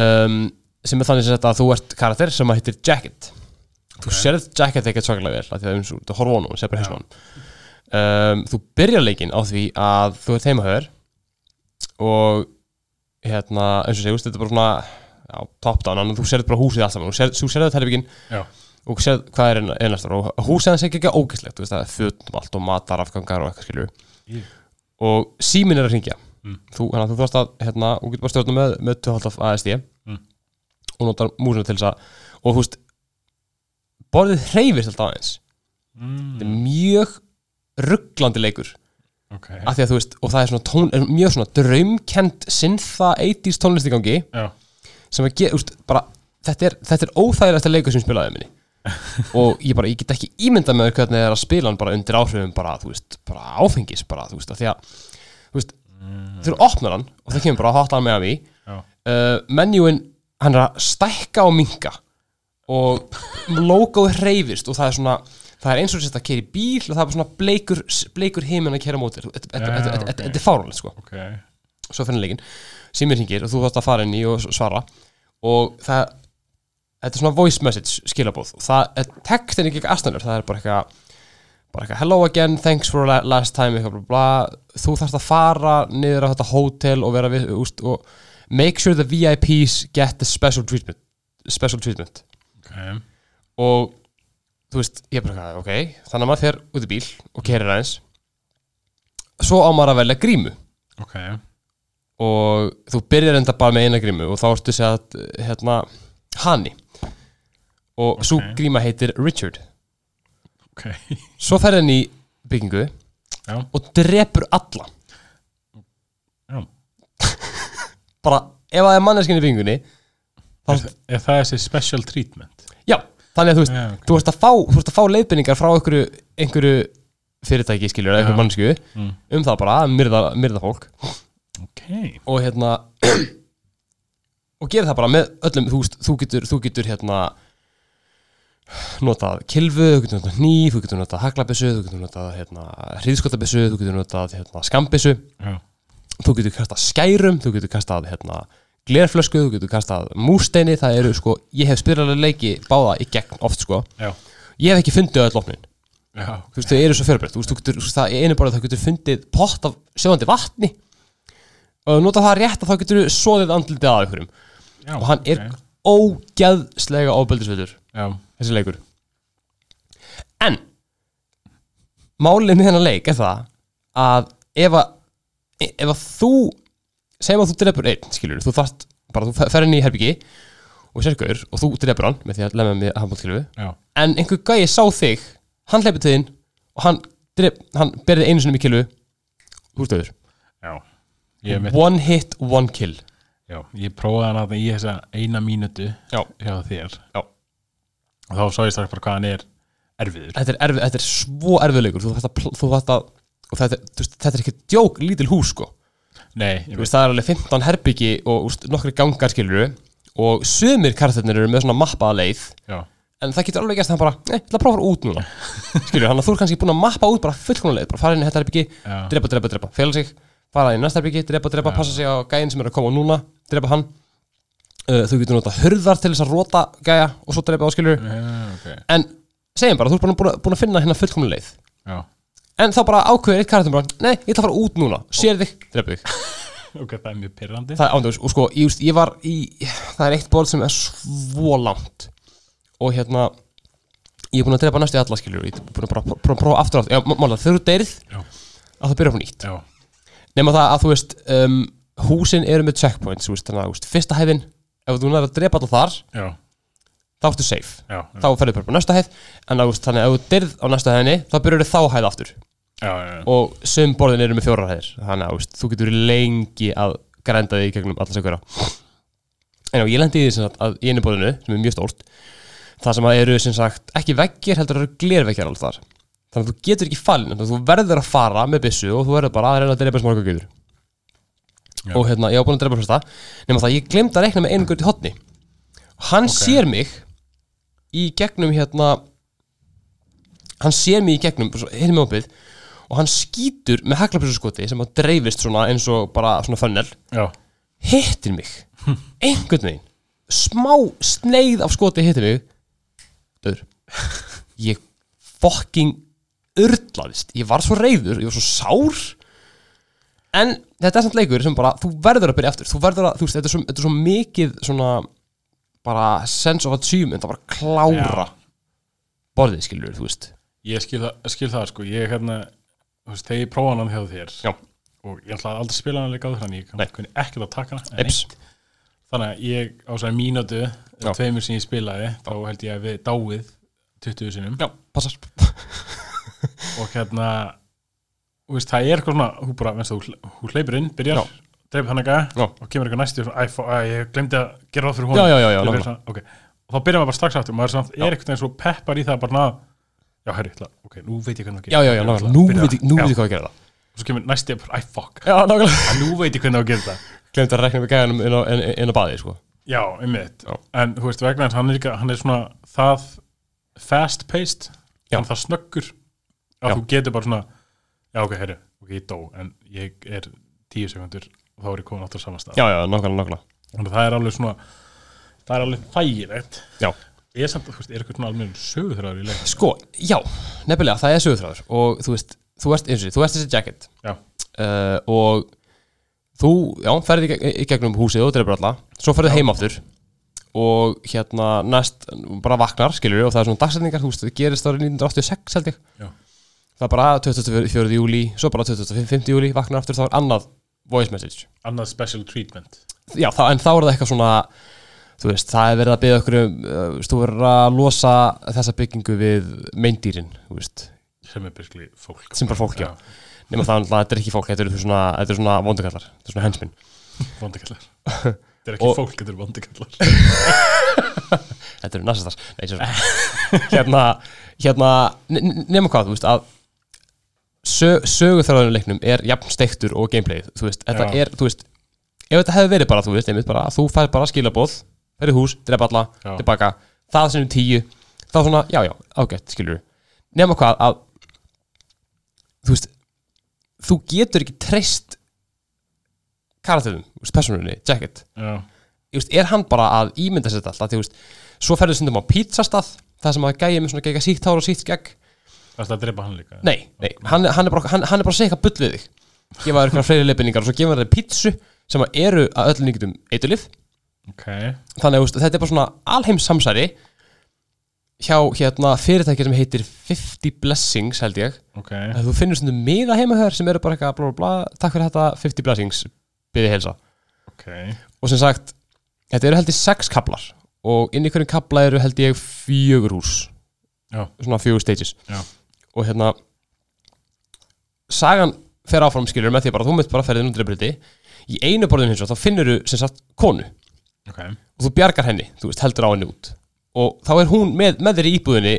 Speaker 1: um, sem er þannig sem sagt að þú ert karakter sem að hittir Jacket þú sérð Jacket ekkert svakalega vel af því það er eins og þú horfa á honum, sér bara
Speaker 2: Já.
Speaker 1: hausnum um, þú byrjar leikinn á því að þú ert heimahöður og hérna, eins og segjum, þetta er bara svona já, top down, annað þú sérð bara húsið allt saman, þú sérð, þú sérð þetta herbygginn
Speaker 2: já
Speaker 1: og sérð hvað er einnastar og húsið hans er ekki ógæslegt, þú veist það er fötum allt og matarafgangar og eitthvað skilur
Speaker 2: Í.
Speaker 1: og síminn er að ringja
Speaker 2: Mm.
Speaker 1: þú, hérna, þú þarfst að, hérna, og getur bara stjórna með, með 2.5 ASD
Speaker 2: Mm.
Speaker 1: og notar músina til þess að og þú veist, borðið hreyfist alltaf aðeins,
Speaker 2: mm,
Speaker 1: þetta er mjög rugglandi leikur
Speaker 2: ok,
Speaker 1: af því að þú veist, og það er svona tón, er mjög svona draumkend syntha 80s tónlist í gangi
Speaker 2: já,
Speaker 1: sem að gera, úst, bara þetta er, þetta er óþægilegasta leikur sem ég spilaði
Speaker 2: <laughs>
Speaker 1: minni og ég bara, ég get ekki ímyndað með hvernig það er að spila hann bara undir áhrifum bara, þú veist, bara áfengis bara, þú veist, af því að þú veist,
Speaker 2: Mm.
Speaker 1: þú opnar hann og það kemur bara að hotla hann með að mig
Speaker 2: já
Speaker 1: uh, menjúin, hann er að stækka og minka og logoð hreyfist og það er svona það er eins og þetta að keyra í bíl og það er bara svona bleikur, bleikur heiminn að keyra á móti þér. Þetta- þetta-
Speaker 2: Já,
Speaker 1: þetta þetta-
Speaker 2: ok.
Speaker 1: þetta- þetta er fáránlegt sko
Speaker 2: ok,
Speaker 1: svo finnir leikinn, símir hringir og þú þarfst að fara inn í og svara og það þetta er svona voice message skilabóð og það er textin ekki aðstæðanur, það er bara eitthvað bara eitthvað, hello again, thanks for la- last time eitthvað, bla, bla, þú þarfst að fara niður á þetta hótel og vera við, úst, og make sure the VIPs get the special treatment special treatment
Speaker 2: ok
Speaker 1: og þú veist, ég bara eitthvað, ok þannig að maður fer út í bíl og kerir aðeins svo á maður að velja grímu
Speaker 2: ok,
Speaker 1: og þú byrjar enda bara með eina grímu og þá ertu sér að hérna, Hani og okay. svo gríma heitir Richard
Speaker 2: ok
Speaker 1: svo fer hann í byggingu
Speaker 2: já,
Speaker 1: og drepur alla
Speaker 2: já
Speaker 1: bara ef það er manneskinn í byggingunni
Speaker 2: er, er það þessi special treatment
Speaker 1: já, þannig að þú veist
Speaker 2: Já, Eh, ok.
Speaker 1: þú ert að fá, þú ert að fá leiðbendingar frá einhverju, einhverju fyrirtæki skiljur eða einhverju mannesku
Speaker 2: Mm.
Speaker 1: um það bara að myrða, myrða fólk
Speaker 2: ok,
Speaker 1: og hérna <clears throat> og gera það bara með öllum þú, veist, þú getur, þú getur hérna notað kilfu, þú getur notað hníf, þú getur notað haglabissu, þú getur notað hérna, hriðskotabissu, þú getur notað hérna, skambissu,
Speaker 2: já,
Speaker 1: þú getur kastað skærum, þú getur kastað hérna, glerflösku, þú getur kastað múrsteini, það eru sko, ég hef spyrjarlega leiki báða í gegn oft sko,
Speaker 2: já
Speaker 1: ég hef ekki fundið öll opnin,
Speaker 2: já,
Speaker 1: þú veist þau eru svo fjörbreytt, þú veist þú getur, þú veist það í einu bara það getur fundið pott af sjóðandi vatni og nota það rétt að þá getur þú soðið andlitið að ykkurum
Speaker 2: já
Speaker 1: og hann er
Speaker 2: ok.
Speaker 1: ógeðslega ofbeldisveitur
Speaker 2: já,
Speaker 1: þessi leikur en málið með hennar leik er það að ef að, ef að þú segjum að þú drefur einn skilur þú þarft bara þú fer inn í herbyggi og sérkur og þú drefur hann með því að lemja með handbóltkilfu
Speaker 2: já,
Speaker 1: en einhver gæi sá þig hann hleypur til þín og hann, drep, hann berði einu sinni um í kilvu þú ert auður
Speaker 2: já ég er mitt
Speaker 1: one hit, one kill
Speaker 2: Já, ég prófaði hann að í þessa eina mínútu
Speaker 1: Já.
Speaker 2: hjá þér
Speaker 1: Já.
Speaker 2: og þá sá ég strax bara hvað hann er erfiður
Speaker 1: þetta er, erfið, þetta er svo erfiðleikur þú þarft að, pl- þú þarft að og þetta, þú veist, þetta er ekki djók lítil hús sko
Speaker 2: Nei, ég
Speaker 1: Þú
Speaker 2: veist
Speaker 1: veist, það er alveg 15 herbyggi og úst, nokkri gangar skiluru og sömur karakterinn eru með svona mappaða leið
Speaker 2: Já,
Speaker 1: en það getur alveg gæst að hann bara, nei, ég ætla að prófa að fara út núna skilur, hann að þú er kannski búin að mappa út bara fullkomlega leið, bara fara inn í þetta herbyggi
Speaker 2: Já.
Speaker 1: drepa, drepa, drepa, fela sig, fara í næsta herbyggi drepa, drepa, passa sig á gæinn sem er að koma núna drepa hann uh, þú getur nota hurðar til þess að róta gæja og svo drepa á skilur,
Speaker 2: já, ok
Speaker 1: en segjum bara, þú ert búin að, búin að finna hérna fullkomlega leið
Speaker 2: Já,
Speaker 1: en þá bara ákveður eitt karakter bara, nei, ég ætla að fara út núna, sér þig, drepa þig
Speaker 2: ok, það er mjög pyrrandi
Speaker 1: það er ándjóðs og sko, ég, just, ég var í það er eitt borð sem er svo langt og hérna ég er búin að drepa næstu alla skilur ég er búin að bara pró- pró- prófa aftur aftur já, má- mála, þegar þú deyrið
Speaker 2: Já.
Speaker 1: að það byrja upp á nýtt
Speaker 2: já,
Speaker 1: nema það að þú veist um, húsin eru með checkpoints þú veist, þannig að þú veist, fyrsta hæðin ef þú næri að drepa alla þar
Speaker 2: já,
Speaker 1: þá ertu safe
Speaker 2: já,
Speaker 1: þá ferðu bara upp á næsta hæð en að, þú veist, þannig að ef þú deyrið á næsta hæðinni þá byrjar þá hæð aftur
Speaker 2: já, já,
Speaker 1: og sum borðin eru með fjórar hæðir þannig að þú veist, þú getur lengi að grænda þig í gegnum alla sökura en já, ég lendi í því sem sagt að í einu borðinu sem er mjög stórt það sem að eru sem sagt ekki veggir heldur eru glerveggjar alls þar þannig að þú getur ekki falin þannig að þú verður að fara með byssu og þú verður bara að reyna að drepa smáka gauður
Speaker 2: Já.
Speaker 1: og hérna, ég var búin að drepa fyrsta nema það, ég glemd að reikna með einu gaur til hotni hann sér mig í gegnum hérna hann sér mig í gegnum svo- hinum opið og hann skýtur með haglabjössaskoti sem að dreifist svona eins og bara svona fönnel
Speaker 2: já,
Speaker 1: hittir mig einhvern veginn smá sneið af skoti hittir mig döður ég fucking urlaðist ég var svo reyður, ég var svo sár en þetta er samt leikur sem bara, þú verður að byrja aftur þú verður að, þú veist, þetta er svo, þetta er svo mikið svona bara sense of achievement að bara klára borðið skilur, þú veist
Speaker 2: ég skil það, skil það sko, ég hérna, þú veist, þegar ég prófa hann hjá þér
Speaker 1: Já.
Speaker 2: og ég ætlaði aldrei að spila hann leika á þér, þannig ég
Speaker 1: Nei.
Speaker 2: kann- kunni ekkert að taka hana,
Speaker 1: Eps,
Speaker 2: þannig að ég á þess að mínútu,
Speaker 1: Já.
Speaker 2: tveimur sem ég spilaði, þá held ég að við dáið 20 sinum
Speaker 1: já, passar
Speaker 2: og hérna þú veist, það er eitthvað svona, þú bara, veist, þú hl- þú hleypur inn, byrjar,
Speaker 1: Já.
Speaker 2: dreipir hann eitthvað
Speaker 1: Já.
Speaker 2: og kemur eitthvað næstu, svona, æ, fó- æ, ég glemdi að gera það fyrir
Speaker 1: Já,
Speaker 2: honum
Speaker 1: já, já, já,
Speaker 2: Til að vera
Speaker 1: nákvæmlega.
Speaker 2: svona, ok. og þá byrjar maður bara strax aftur maður er, samt, er eitthvað eins og peppar í það bara na, já, herri, ætla, ok, nú veit ég hvernig það
Speaker 1: Já, já, já, nákvæmlega, nú veit ég, nú veit ég
Speaker 2: ég
Speaker 1: hvað að gera það
Speaker 2: og svo kemur næstu, bara, æ, fuck,
Speaker 1: Já, nákvæmlega
Speaker 2: nú veit ég hvernig það gerir það
Speaker 1: Glemt að rekna með gæðanum inn á, inn, inn á baði, sko
Speaker 2: já, einmitt,
Speaker 1: Já.
Speaker 2: en þú veist, vegna þess að hann er, líka, hann er svona það fast paced,
Speaker 1: Já.
Speaker 2: hann er það snöggur að
Speaker 1: Já.
Speaker 2: þú getur bara svona já, ok, herri, ok, ég dó en ég er tíu sekundur og þá er ég komin áttur saman stað
Speaker 1: Já, já, nákvæmlega, nákvæmlega
Speaker 2: þannig að það er alveg svona það er alveg þægilegt
Speaker 1: Já.
Speaker 2: ég er samt, þú veist, er eitthvað svona alveg sögurþráður í leik
Speaker 1: Sko, já, nefnilega, það er sögurþráður og þú veist, þú ert, eins og sé, þú ert þessi jacket
Speaker 2: já,
Speaker 1: uh, og þú, já, ferði í, geg- í gegnum húsið og dreifur alla, svo ferði heim aftur og hérna næst bara vaknar, skilur og það er svona dagsetningar, þú veist, það gerist árið 1986 held ég
Speaker 2: já,
Speaker 1: það er bara 24. júli, svo bara 25. júli vaknar aftur, þá er annað voice message
Speaker 2: annað special treatment
Speaker 1: já, það, en þá er það eitthvað svona þú veist, það er verið að byggja okkur um, uh, veist, þú verður að losa þessa byggingu við meindýrin, þú veist
Speaker 2: sem er byrkli fólk
Speaker 1: sem bara fólk, já,
Speaker 2: Já.
Speaker 1: nema það er náttúrulega- þetta er ekki fólk, þetta eru svona, þetta eru svona vondukallar þetta eru svona hensminn, <laughs>
Speaker 2: vondikallar þetta er ekki
Speaker 1: Og-
Speaker 2: fólk, þetta er vondikallar
Speaker 1: <laughs> þetta eru nasistar nei, sér <laughs> hérna, hérna ne- ne- nema hvað, þú veist, að sö, söguþráðunleiknum er jafn steiktur og gameplayið, þú veist, þetta
Speaker 2: Já.
Speaker 1: er, þú veist ef þetta hefði verið bara, þú veist, einmitt bara að þú fær bara skilabóð, ferði hús, drepa alla
Speaker 2: Já.
Speaker 1: tilbaka, það sem er tíu þá svona, já, já, ágætt, skilur nema hvað að þú veist, þú getur ekki treyst karakterum, þú veist, personunni, jacket
Speaker 2: já,
Speaker 1: Ég veist, er hann bara að ímynda sér þetta alltaf því, þú veist, svo ferðu stundum á pizzastað það sem að gæja með svona gegga sítt hár og sítt gegg
Speaker 2: það er að drepa hann líka
Speaker 1: nei, nei, hann, er- hann er bara hann, hann er bara að segja eitthvað bull við þig gefa þér eitthvað fleiri leifinningar og svo gefa þér pizzu sem að eru að öllum líkjum eiturlif
Speaker 2: ok,
Speaker 1: þannig að þú veist, þetta er bara svona alheims samsæri hjá hérna fyrirtæki sem heitir 50 Blessings held ég
Speaker 2: ok,
Speaker 1: að þú finnur svona miða heimahör sem eru bara eitthvað blá, blá, blá, takk fyrir þetta 50 Blessings, byrði heilsa
Speaker 2: ok
Speaker 1: og sem sagt, þetta eru held ég sex kaplar og inn í hverjum kapla eru held ég fjögur hús
Speaker 2: Já.
Speaker 1: svona fjögur stages
Speaker 2: Já.
Speaker 1: og hérna sagan fer áfram skilur með því bara að þú mynd bara ferðin undir bryti í einu borðin hins og þá finnur þú sem sagt konu og
Speaker 2: ok,
Speaker 1: þú bjargar henni, þú veist, heldur á henni út og þá er hún með, með þér í íbúðinni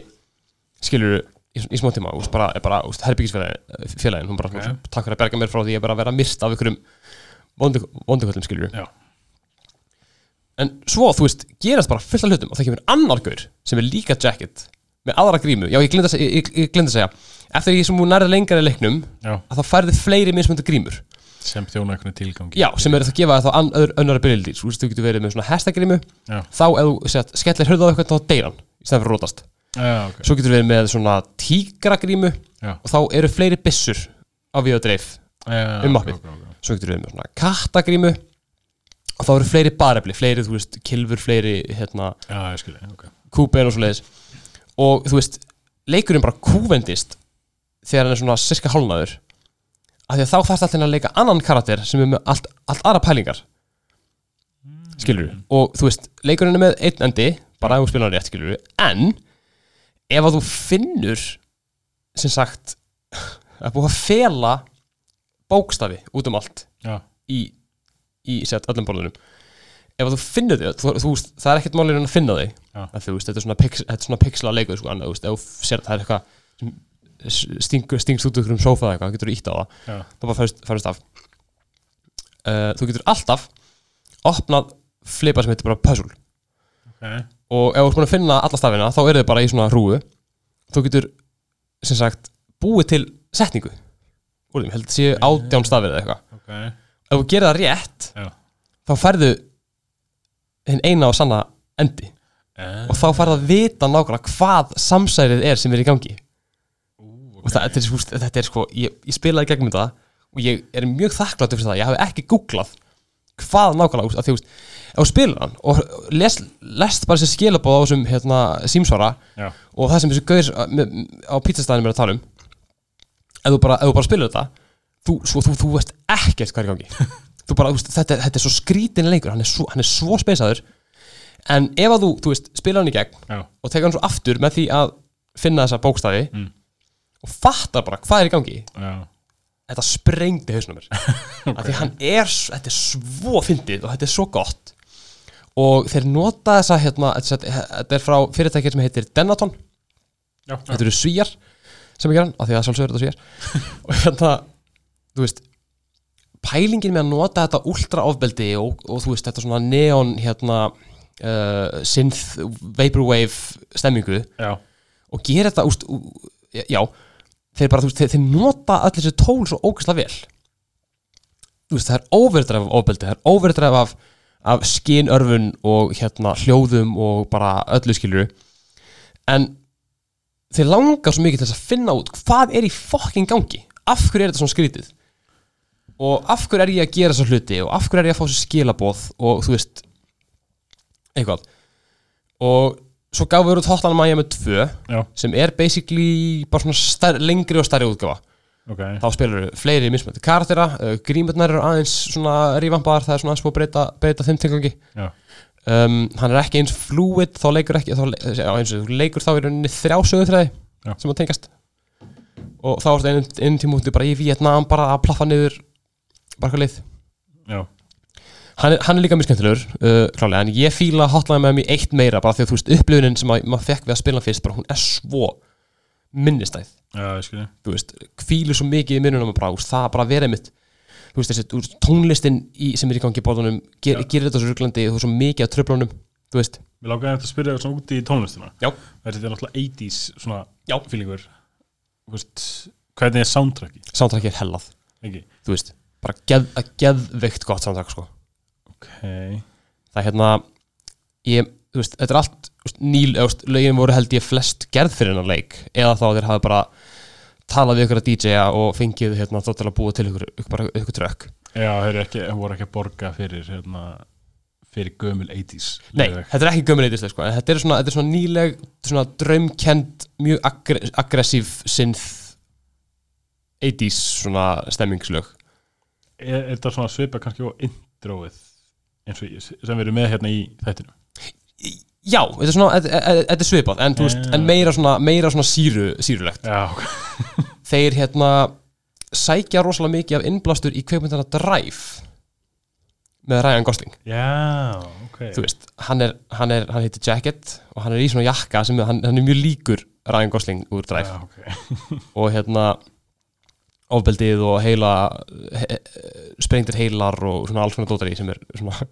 Speaker 1: skilur í, í smá tíma, þú veist, bara, er bara þú veist, herbyggisfélagin, hún bara
Speaker 2: Ok.
Speaker 1: okay. takk fyrir að bjarga mér frá því að bara vera myrt af ykkurum vonduköllum skilur
Speaker 2: já
Speaker 1: en svo, þú veist, gerast bara fullt af hlutum og það kemur annar gaur sem er líka jacket með aðra grímu, já ég glinda að, seg- ég, ég glinda að segja eftir því sem hún nærði lengra í leiknum
Speaker 2: Já.
Speaker 1: að þá færði fleiri mismöndu grímur
Speaker 2: sem þjóna einhvern tilgangi
Speaker 1: já, sem er það að gefa þér þá ann- öðru- önnur ability þú veist, þú getur verið með svona hestagrímu
Speaker 2: Já.
Speaker 1: þá ef þú sett, skellir hörðu á eitthvað þá deyr hann í stæðan fyrir að rótast
Speaker 2: já, ok,
Speaker 1: svo getur verið með svona tígragrímu
Speaker 2: já,
Speaker 1: og þá eru fleiri byssur á við og dreif
Speaker 2: já
Speaker 1: Um
Speaker 2: ok,
Speaker 1: mappið.
Speaker 2: ok, ok.
Speaker 1: svo getur við með svona kattagrímu og þá eru fleiri barefli, fleiri, þú veist, kilfur, fleiri, hérna,
Speaker 2: já, ég skilji, ok
Speaker 1: kúpen og svoleiðis og þú veist, leikurinn bara kúvendist þegar hann er svona sirka hálnaður af því að þá þarf alltaf að leika annan karakter sem er með allt, allt aðra pælingar skilur og þú veist, leikurinn er með einn endi bara ef þú spilar hann rétt skilur en ef að þú finnur sem sagt <laughs> að búið að fela bókstafi út um allt
Speaker 2: já,
Speaker 1: í, í set, öllum borðunum ef að þú finnur þau, þú, þú, veist, það er ekkert málið að finna þau
Speaker 2: Já.
Speaker 1: að þú veist, þetta er svona, pix, þetta er svona pixla leikur sko, annað, þú veist, ef þú sér að það er eitthvað sem s- stingur, stingst út ykkur um sófa eða eitthvað, getur þú ítt á það
Speaker 2: já,
Speaker 1: þá bara færist, færist af uh, þú getur alltaf opnað flipa sem heitir bara puzzle
Speaker 2: ok
Speaker 1: og ef þú ert búin að finna alla stafina þá eru þau bara í svona rúu þú getur, sem sagt, búið til setningu úr þeim, heldur séu átján stafir eða eitthvað
Speaker 2: ok,
Speaker 1: ef þú gerir það rétt
Speaker 2: já
Speaker 1: þá færðu hinn eina og sanna endi
Speaker 2: Eh,
Speaker 1: og þá færðu að vita nákvæmlega hvað samsærið er sem er í gangi
Speaker 2: ú,
Speaker 1: og það, þetta, er, sko- þetta er sko, ég, ég spilaði gegnum þetta og ég er mjög þakkláttur fyrir það ég hafi ekki googlað hvað nákvæmlega, að því þú veist, ef þú spilar hann og les, lest bara sér skilabóð á þessum hérna, símsvara
Speaker 2: já,
Speaker 1: og það sem þessi gauðir á pítsastæðinum er að tala um ef þú bara, ef þú bara spilur þetta þú, svo, þú, þú veist ekkert hvað er í gangi þú bara, þú veist, þetta, er- þetta er svo skrítin leikur hann er svo, hann er svo spesaður en ef að þú, þú veist, spila hann í gegn
Speaker 2: já,
Speaker 1: og teka hann svo aftur með því að finna þessa bókstafi
Speaker 2: Mm.
Speaker 1: og fattar bara hvað er í gangi
Speaker 2: já
Speaker 1: þetta sprengdi hausnum mér af því hann er, s- þetta er svo fyndið og þetta er svo gott og þeir nota þessa hérna, þetta þetta er frá fyrirtækið sem heitir Denaton
Speaker 2: já,
Speaker 1: þetta eru svíjar sem ekki hann, af því að sjálfsögur þetta svíjar og hérna, þú veist pælingin með að nota þetta ultraofbeldi og, og þú veist þetta svona neon hérna uh, synth vaporwave stemmingu
Speaker 2: já,
Speaker 1: og gera þetta úst, ú, já, þeir bara, þú veist, þeir, þeir nota öll þessi tól svo ógeðslega vel þú veist, það er overdreif af ofbeldi, það er overdreif af, af skinörfun og hérna hljóðum og bara öllu skiluru en þeir langar svo mikið til þess að finna út hvað er í fokkin gangi, af hverju er þetta svona skrítið og af hverju er ég að gera þessa hluti og af hverju er ég að fá þessi skilaboð og þú veist eitthvað og svo gafum við út Hotline Miami 2
Speaker 2: já,
Speaker 1: sem er basically bara svona stær, lengri og stærri útgafa
Speaker 2: ok
Speaker 1: þá spilur fleiri mismöndi karaktera uh, grímurnar eru aðeins svona rívampaðar það er svona aðeins búið að breyta, breyta þeim tilgangi
Speaker 2: já,
Speaker 1: um, hann er ekki eins fluid þá leikur ekki, þá, le- já, eins og þú leikur þá í rauninni þrjá sögutræði
Speaker 2: Já.
Speaker 1: sem að tengast og þá er þetta einn- einn tímúti bara í Vietnam bara að plaffa niður bara hvað leið
Speaker 2: já,
Speaker 1: hann er, hann er líka mjög skemmtilegur uh, klálega, en ég fíla hotline með mér eitt meira bara því að þú veist upplifunin sem að- maður fekk við að spila hann fyrst bara hún er svo minnistæð
Speaker 2: já, ég skilji
Speaker 1: þú veist, kvílu svo mikið í minnunum bara, úst, það bara verið mitt þú veist, þessi þú veist, tónlistin í, sem er í gangi í bóðunum ger,
Speaker 2: Já.
Speaker 1: gerir þetta svo ruglandi þú veist, svo mikið af tröflunum, þú veist
Speaker 2: Mér lákaði eftir að spyrja þér svona úti í tónlistina
Speaker 1: Já.
Speaker 2: Þetta er náttúrulega 80s svona
Speaker 1: Já.
Speaker 2: feelingur Þú veist, Hvernig er soundtracki?
Speaker 1: soundtrackið er hellað,
Speaker 2: Ekki?
Speaker 1: þú veist bara geð, að geðveikt gott soundtrack sko.
Speaker 2: Ok
Speaker 1: það er hérna ég, þú veist, þetta er allt þú veist, nýl, eða, þú veist, lögin voru held ég flest gerð fyrir hennar leik, eða þá þeir hafa bara talað við ykkur að DJ-a og fengið hérna, þá til að búa til ykkur, ykkur, bara ykkur trökk
Speaker 2: Já, þeir ekki, þeir voru ekki að borga fyrir hérna, fyrir gömul 80s
Speaker 1: Nei,
Speaker 2: lög.
Speaker 1: þetta er ekki gömuleitislega sko, en þetta er svona, þetta er svona nýleg, svona draumkend, mjög aggre aggressív synth 80s svona stemmingslög.
Speaker 2: Er, er þetta svona svipa kannski á introið eins og ég, sem við erum með hérna í þættinu
Speaker 1: Í- Já, þetta er svona, þetta- þetta þetta er svipað, en, þú veist,
Speaker 2: Já.
Speaker 1: en meira svona, meira svona síru, sírulegt.
Speaker 2: Já, ok
Speaker 1: Þeir hérna sækja rosalega mikið af innblastur í kveikmyndana Drive með Ryan Gosling.
Speaker 2: Já, ok
Speaker 1: Þú veist, hann er, hann er, hann heitir Jacket og hann er í svona jakka sem er- hann, hann er mjög líkur Ryan Gosling úr Drive.
Speaker 2: Já, ok
Speaker 1: og hérna ofbeldið og heila he, sprengtir heilar og svona alls konar dótari sem er svona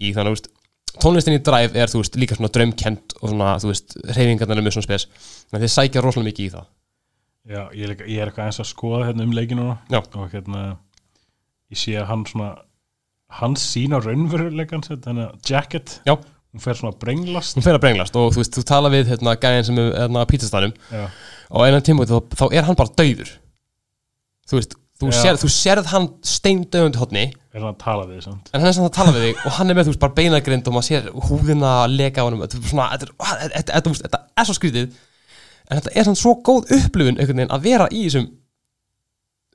Speaker 1: í þannig, þú veist, tónlistin í Drive er, þú veist, líka svona draumkend og svona, þú veist, reyfingarnar er mjög svona spes en þið sækja rosalega mikið í það
Speaker 2: Já, ég er, líka- ég er eitthvað eins að skoða hérna um leikinu núna.
Speaker 1: Já.
Speaker 2: og hérna ég sé að hann svona hann sína raunveruleikan sitt þannig að jacket,
Speaker 1: Já.
Speaker 2: hún fer svona að brenglast
Speaker 1: hún fer að brenglast og þú veist, þú tala við hérna gæðin sem er hérna á pítastænum
Speaker 2: Já,
Speaker 1: og einan tímúti þá, þá er hann bara dauður þú veist, þú,
Speaker 2: Já.
Speaker 1: sér, þú sérð hann steindöfund hotni
Speaker 2: er hann að tala við þig samt
Speaker 1: en hann er samt að tala við þig og hann er með þú veist bara beinagrind og maður sér húðina að leka á honum þetta er svona, þetta er- ah, þetta- þetta- þú veist, þetta er svo skrítið en þetta er svona svo góð upplifun einhvern veginn að vera í þessum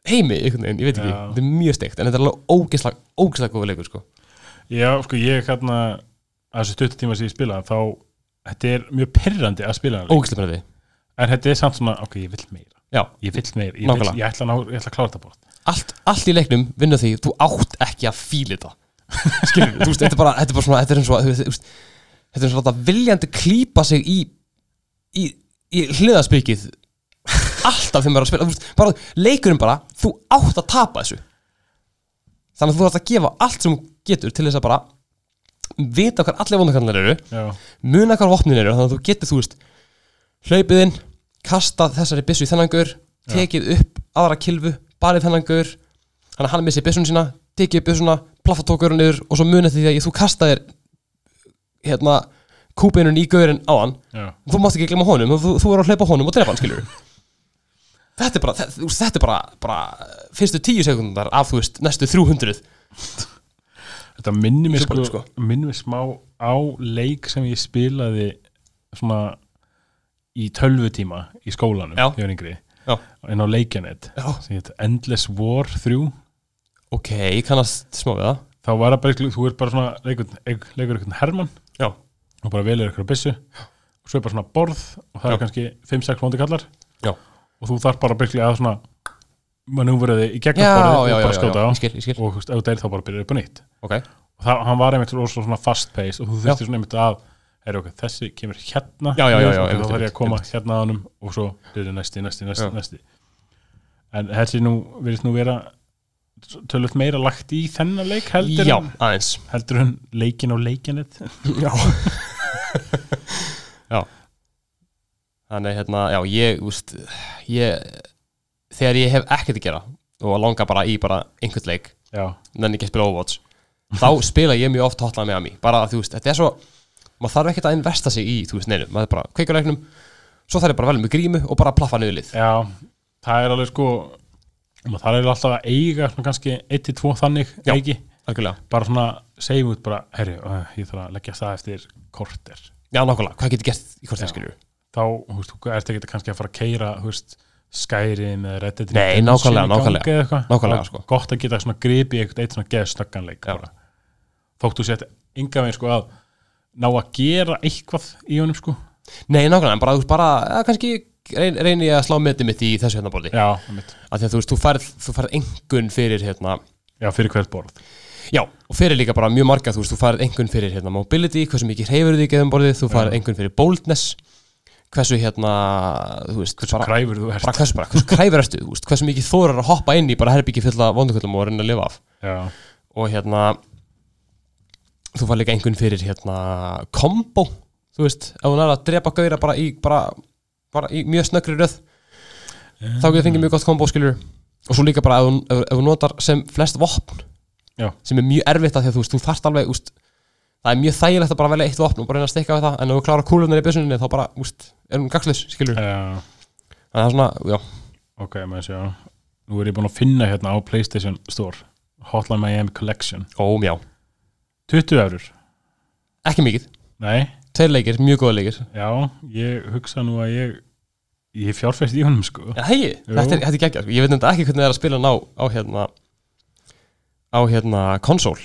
Speaker 1: heimi einhvern veginn, ég veit ekki,
Speaker 2: Já.
Speaker 1: þetta er mjög steikt en þetta er alveg ógeðslega, ógeðslega góð leikur sko.
Speaker 2: já sko ég hérna að þessu stuttu tíma sem ég spila þá þetta er mjög perrandi að spila hann
Speaker 1: ógeðslega breyði,
Speaker 2: en þetta er samt svona ok ég vill meira
Speaker 1: já,
Speaker 2: ég vill meira ég, vill,
Speaker 1: Nákvæmlega.
Speaker 2: ég, ætla, að ná, ég ætla að klára þetta bort
Speaker 1: allt, allt í leiknum vinna því, þú átt ekki að fíla þetta skilur, þú veist, þetta er bara þetta er bara svona, þetta er eins og að, þú veist þetta er eins og að láta viljandi klípa sig í í, í hliðaspikið alltaf þegar maður er að spila þú veist, bara, leikurinn bara, þú átt að tapa þessu þannig að þú átt að gefa allt sem þú getur til þess að bara vita hvað allir vondakallar eru
Speaker 2: já
Speaker 1: muna hvað vopnin eru þannig að þú getur, þú veist hlaupið inn, kastað þessari byssu í þennan gaur, tekið upp aðra kilfu, barið þennan gaur þannig að hann missi byssun sína, tekið upp byssuna plaffa tókurinn yfir og svo muna því að þú kastaðir hérna, kúpinun í gaurinn á hann
Speaker 2: já
Speaker 1: þú mátt ekki glemma honum, þú, þú er að hlaupa á honum og drepa hann, skilur <laughs> þetta er bara, þetta, þú veist, þetta er bara, bara fyrstu tíu sekundar af, þú veist, næstu 300
Speaker 2: Þetta minnir mig sko,
Speaker 1: Superleague,
Speaker 2: sko. minnir mig smá á leik sem ég spilaði svona í tölvutíma í skólanum
Speaker 1: Já.
Speaker 2: þegar ég var yngri,
Speaker 1: Já.
Speaker 2: en á leikjanett
Speaker 1: Já.
Speaker 2: sem heit Endless War 3
Speaker 1: ok, kannast smá við það
Speaker 2: þá var það bara, eitthvað- þú er bara svona leikur, leik- leikur einhvern hermann
Speaker 1: já,
Speaker 2: og bara velur eitthvað byssu og svo er bara svona borð og það
Speaker 1: Já.
Speaker 2: er kannski 5-6 hóndi kallar
Speaker 1: já,
Speaker 2: og þú þarf bara byrkli að svona manúveraði í
Speaker 1: já,
Speaker 2: gegnum
Speaker 1: já,
Speaker 2: borðið
Speaker 1: já,
Speaker 2: og
Speaker 1: já,
Speaker 2: bara
Speaker 1: já,
Speaker 2: skjóta á
Speaker 1: ég skil, ég skil
Speaker 2: og þú veist, ef þú deyr þá bara byrjar upp á nýtt
Speaker 1: ok,
Speaker 2: og það, hann var einmitt rosa svona fast pace og þú þurfti svona einmitt að er, okay, þessi kemur hérna
Speaker 1: Já, já, já, já,
Speaker 2: niður, ok,
Speaker 1: einmitt,
Speaker 2: þá þarf ég
Speaker 1: einmitt,
Speaker 2: að koma hérna á hann og svo byrja næsti, næsti, næsti,
Speaker 1: Já.
Speaker 2: næsti en þessi nú virðist nú vera tölvöld meira lagt í þennan leik heldur
Speaker 1: já,
Speaker 2: en,
Speaker 1: aðeins
Speaker 2: heldur en leikin og leikinett
Speaker 1: <laughs> Já Já Þannig hérna, já, ég, úst, ég þegar ég hef ekkert að gera og langa bara í bara einhvern leik
Speaker 2: já,
Speaker 1: nenni ekki að spila <laughs> Overwatch þá spila ég mjög oft Hotline Miami bara að þú veist, þetta er svo maður þarf ekkert að investa sig í, þú veist, neinu maður er bara kveikur leiknum svo þarf ég bara vel með grímu og bara plaffa niður lið
Speaker 2: já, það er alveg sko maður þarf eiginlega alltaf að eiga svona kannski 1-2 þannig
Speaker 1: Já.
Speaker 2: leiki
Speaker 1: algjörlega,
Speaker 2: bara svona segjum út bara herri, uh, ég þarf að leggja það eftir korter
Speaker 1: já, nákvæmlega, hvað getur gert í hvort
Speaker 2: Já.
Speaker 1: það skilur
Speaker 2: þá, þú veist, þú ert ekki kannski að fara að keira, þú veist, skærin eða reddit
Speaker 1: Nei, nákvæmlega, nákvæmlega. Nákvæmlega, sko.
Speaker 2: gott að geta svona gripi eitt, eitt svona geðstögganleik
Speaker 1: Já.
Speaker 2: bara. þótt þú sett enga veginn sko að ná að gera eitthvað í honum sko
Speaker 1: Nei, nákvæmlega, en bara, þú veist, bara, eða, kannski reyn- reyni ég að slá metið mitt í þessu hérna borði
Speaker 2: já, einmitt.
Speaker 1: að því að þú veist, þú færð, þú færð engun fyrir hérna,
Speaker 2: já fyrir hvert borð
Speaker 1: já, og fyrir líka bara mjög marga, þú veist, þú færð engun fyrir hérna mobility, hversu mikið hreyfur þig í geðumborðið, þú færð engun fyrir boldness, hversu hérna, þú veist, hversu bara,
Speaker 2: kræfur þú ert
Speaker 1: bara hversu bara, hversu kræfur ertu, þú veist, hversu mikið þórar að hoppa inn í bara herbyggi fulla vonduköllum og reyna að lifa af
Speaker 2: já,
Speaker 1: og hérna, þú færð líka engun fyrir hérna combo, þú veist, ef hún er að drepa gauðra bara í, bara, bara í mjög snöggri röð, þá getur fengið mjög gott kombo skilur og svo líka bara ef, þú- ef, ef þú notar sem flest vopn
Speaker 2: Já.
Speaker 1: sem er mjög erfitt að því að þú veist þú þarft alveg úst, það er mjög þægilegt að bara velja eitt vopn og bara reyna að stikka við það en ef þú klárar kúlunar í bjössuninni þá bara úst, er hún gagslis skilur
Speaker 2: já,
Speaker 1: en það er svona, já,
Speaker 2: Eh, ok, maður sjá nú er ég búin að finna hérna á Playstation Store Hotline Miami Collection
Speaker 1: óm já
Speaker 2: 20 eurur,
Speaker 1: ekki mikið,
Speaker 2: nei,
Speaker 1: tveir leikir, mjög góða leikir
Speaker 2: já ég hugsa nú að ég ég fjárfæst í honum sko
Speaker 1: ja, hei,
Speaker 2: Jú.
Speaker 1: þetta er, þetta er geggja, sko. ég veit nefnda ekki hvernig það er að spila hann á, á hérna á hérna konsól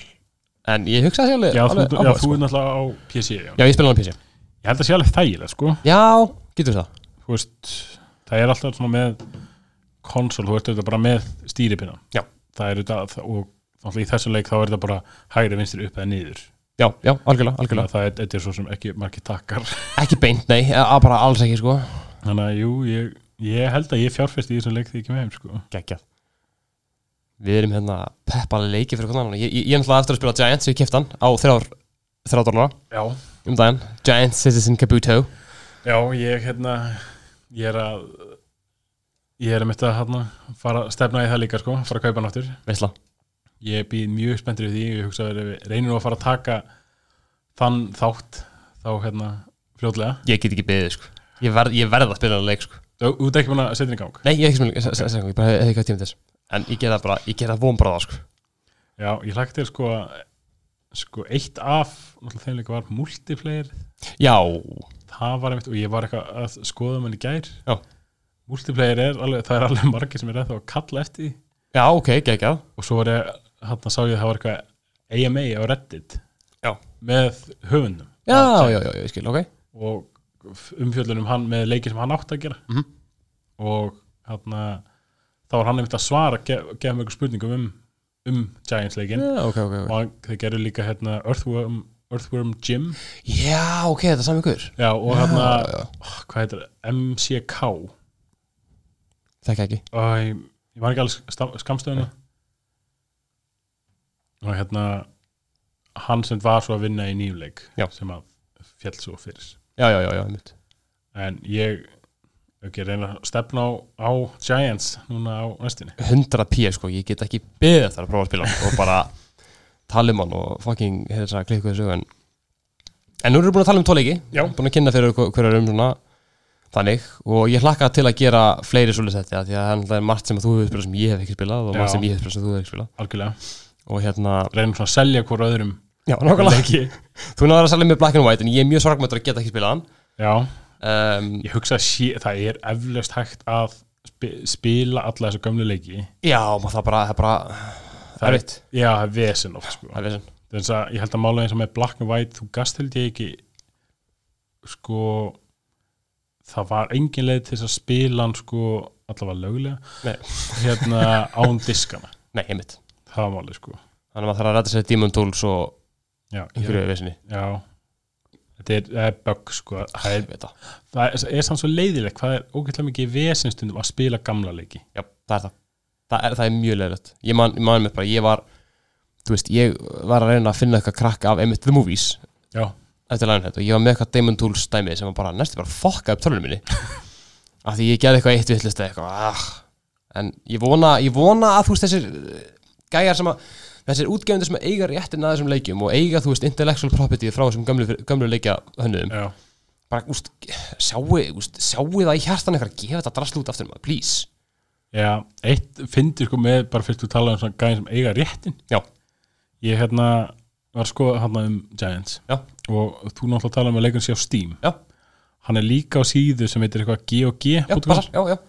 Speaker 1: en ég hugsa það sé alveg,
Speaker 2: Já, þú,
Speaker 1: alveg
Speaker 2: já,
Speaker 1: áhugað,
Speaker 2: þú
Speaker 1: sko.
Speaker 2: er náttúrulega á PC já.
Speaker 1: já, ég spila hann á PC
Speaker 2: Ég held að sé alveg þægilega sko.
Speaker 1: já, getur það
Speaker 2: Þú veist, Það er alltaf svona með konsol, þú veist þetta bara með stýripinna
Speaker 1: Já.
Speaker 2: Það er þetta, og náttúrulega í þessu leik þá er þetta bara hægri vinstri upp eða niður
Speaker 1: já, já, algjörlega, algjörlega
Speaker 2: Það er, þetta er svo sem ekki margir takkar
Speaker 1: ekki beint, nei, eh, að bara alls ekki sko
Speaker 2: Þannig að jú, ég, ég held að ég fjárfesti í þessum leik því ekki með heim sko.
Speaker 1: geggjað við erum hérna peppa leiki fyrir hvernig annan ég, ég, ég er náttúrulega eftir að spila Giants, ég kefti hann á þrjár þrjár dólar
Speaker 2: Já,
Speaker 1: um daginn Giants Citizen Kabuto
Speaker 2: já, ég hérna ég er að ég er að mitt að hérna, fara að stefna í það líka sko, fara að kaupa hann aftur
Speaker 1: veistla,
Speaker 2: ég býð mjög spenntur við því ég hugsa að við reynir nú að fara að taka þann þátt þá hérna fljótlega
Speaker 1: ég get ekki beðið sko ég verð, ég verð að spila hann leik sko
Speaker 2: þú þú ert ekki búin að setja hann í gang
Speaker 1: nei, ég er ekki spila, okay. ég bara hef- hef ekki að tíma til þess en ég gera bara, ég gera vonbráða sko.
Speaker 2: Já, ég hlægt þér sko að sko eitt af náttúrulega þeim líka var multiplayer
Speaker 1: já,
Speaker 2: það var einmitt og ég var eitthvað að skoða mann í gær
Speaker 1: já,
Speaker 2: multiplayer er alveg, það er alveg margir sem er eða að kalla eftir því
Speaker 1: já, ok, geggjað
Speaker 2: og svo var ég, hann sá ég að það var eitthvað AMA á Reddit
Speaker 1: já,
Speaker 2: með höfundum
Speaker 1: já, já, já, já, ég skil, ok
Speaker 2: og umfjöldunum hann með leiki sem hann átti að gera
Speaker 1: Mhm.
Speaker 2: -hmm. og hann þá var hann einmitt að svara gefa gef mörgum spurningum um, um Giants leikin
Speaker 1: já, ok, ok,
Speaker 2: og
Speaker 1: ok
Speaker 2: hann, þeir gerðu líka hérna Earthworm, Earthworm Jim
Speaker 1: já, ok, þetta er sami ykkur
Speaker 2: já, og
Speaker 1: hérna-
Speaker 2: hann
Speaker 1: já.
Speaker 2: hvað heitir það? MCK
Speaker 1: þekki ekki,
Speaker 2: og ég, ég var ekki alveg skamstöðuna og hérna hann sem var svo að vinna í nýjum leik
Speaker 1: Já.
Speaker 2: sem að fjall svo fyrir
Speaker 1: já, já, já, já, mitt
Speaker 2: en ég ekki reyna að stefna á, á Giants núna á næstinni
Speaker 1: 100 píu, sko, ég get ekki beðið þar að prófa að spila hann og bara tala um hann og fucking hefði þess að klikku þessu en, en nú erum við búin að tala um tóleiki
Speaker 2: Já.
Speaker 1: búin að kynna fyrir okkur hverjar um svona þannig og ég hlakka til að gera fleiri svolítið þetta því að það er náttúrulega margt sem að þú hefur spilað sem ég hef ekki spilað og
Speaker 2: Já.
Speaker 1: margt sem ég hef spilað sem þú hefur ekki spilað
Speaker 2: algjörlega,
Speaker 1: og hérna,
Speaker 2: reynum svona að selja hvort öðrum
Speaker 1: já, nákvæmlega
Speaker 2: leiki
Speaker 1: þú náður að salja með Black and White en ég er mjög sorgmættur að geta ekki spilað
Speaker 2: já,
Speaker 1: hann um,
Speaker 2: ég hugsa að sé, það er eflaust hægt að spi, spila alla þessu gömlu leiki
Speaker 1: já, maður það bara, það er bara
Speaker 2: Það er-
Speaker 1: erfitt.
Speaker 2: já, það er vesen oft sko.
Speaker 1: það er vesen.
Speaker 2: þess að ég held að mála eins og með Black and White þú gast held ég ekki sko það var engin leið til þess að spila hann sko allavega lögulega
Speaker 1: Nei.
Speaker 2: hérna án diskana
Speaker 1: Nei, einmitt.
Speaker 2: það var málið sko
Speaker 1: Þannig að maður þarf að ræta sér Demon Tools og
Speaker 2: já,
Speaker 1: einhverju vesinni.
Speaker 2: já. þetta er, það er bug sko það
Speaker 1: Ég
Speaker 2: er,
Speaker 1: veit það.
Speaker 2: það er, er samt svo leiðilegt hvað er ógætlega mikið vesinstundum að spila gamla leiki
Speaker 1: Já, það er það. Það er, það er mjög leiðilegt. Ég man, ég man mér bara, ég var, þú veist, ég var að reyna að finna eitthvað krakk af einmitt The Movies
Speaker 2: já,
Speaker 1: eftir Lionhead og ég var með eitthvað Demon Tools dæmi sem var bara næstu bara fokka upp tölunum minni. Af því ég gerði eitthvað eitt vittlist eða eitthvað. Ah. En ég vona, ég vona að þú veist þessir eh, gæjar sem að, þessir útgefundir sem eiga réttin að þessum leikjum og eiga, þú veist, intellectual property frá þessum gömlu, gömlu leikja
Speaker 2: já,
Speaker 1: bara, úst, sjáu, úst, sjáu það í hjartan eitthvað, gefa þetta drasl út aftur maður, please
Speaker 2: já eitt fyndir sko með bara fyrst þú tala um svona gæðin sem eiga réttin
Speaker 1: Já,
Speaker 2: ég hérna var að skoða hérna um Giants
Speaker 1: já,
Speaker 2: og þú náttúrulega tala um að leikun sé á Steam
Speaker 1: já,
Speaker 2: hann er líka á síðu sem heitir eitthvað
Speaker 1: já,
Speaker 2: GOG.com
Speaker 1: passar, já, já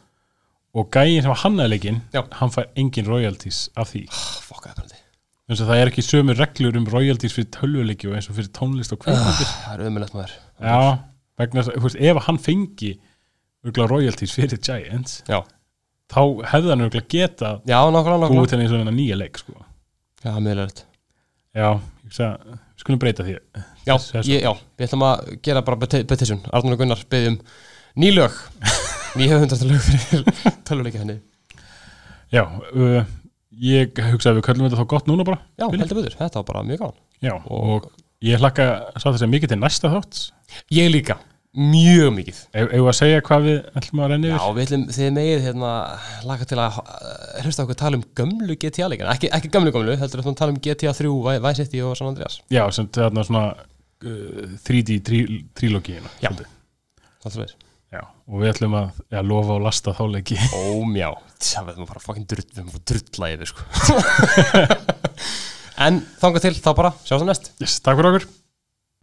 Speaker 2: og gæin sem hann er leikinn
Speaker 1: Já.
Speaker 2: hann fær engin royalties af því
Speaker 1: Ah, Fuck, það er penaldi
Speaker 2: eins og það er ekki sömu reglur um royalties fyrir tölvuleiki og eins og fyrir tónlist og kvöldundir
Speaker 1: Það er ömulegt maður
Speaker 2: já, vegna þess að, þú veist, ef hann fengi örgulega royalties fyrir Giants
Speaker 1: Já,
Speaker 2: þá hefði hann örgulega geta
Speaker 1: já, nákvæmlega,
Speaker 2: búið
Speaker 1: nákvæmlega
Speaker 2: til eins og hennar nýja leik sko.
Speaker 1: Já, það er meðlega
Speaker 2: já, ég hugsa, við skulum breyta því
Speaker 1: Já,
Speaker 2: Þessu er sko-
Speaker 1: ég, já, við ætlum að gera bara peti- petition Arnur og Gunnar byggjum ný lög <laughs> Ný höfundar lög fyrir <laughs> tölvuleika henni
Speaker 2: já, uh, ég hugsa að við köllum þetta þá gott núna bara
Speaker 1: Já, heldur betur, þetta var bara mjög gáðan
Speaker 2: já, og, ég hlakka satt þess að mikið til næsta þátt
Speaker 1: Ég líka, mjög mikið
Speaker 2: Eða að segja hvað við ætlum að renna
Speaker 1: Já,
Speaker 2: yfir?
Speaker 1: við ætlum, þið megið hérna laka til að eh, hlusta okkur tala um gömlu GTA leikana, ekki, ekki gömlu gömlu, heldur við ætlum að tala um GTA 3, Vi- Vice City og San Andreas
Speaker 2: Já, sem þarna svona uh, 3D trí, trílógíina.
Speaker 1: Já. Það er þess
Speaker 2: Já, og við ætlum að já, lofa og lasta þá leiki.
Speaker 1: Ómjá, það verðum bara fucking drull, við verðum bara drulla yfir sko En þangað til, þá bara, sjáum það næst
Speaker 2: Yes, takk fyrir okkur.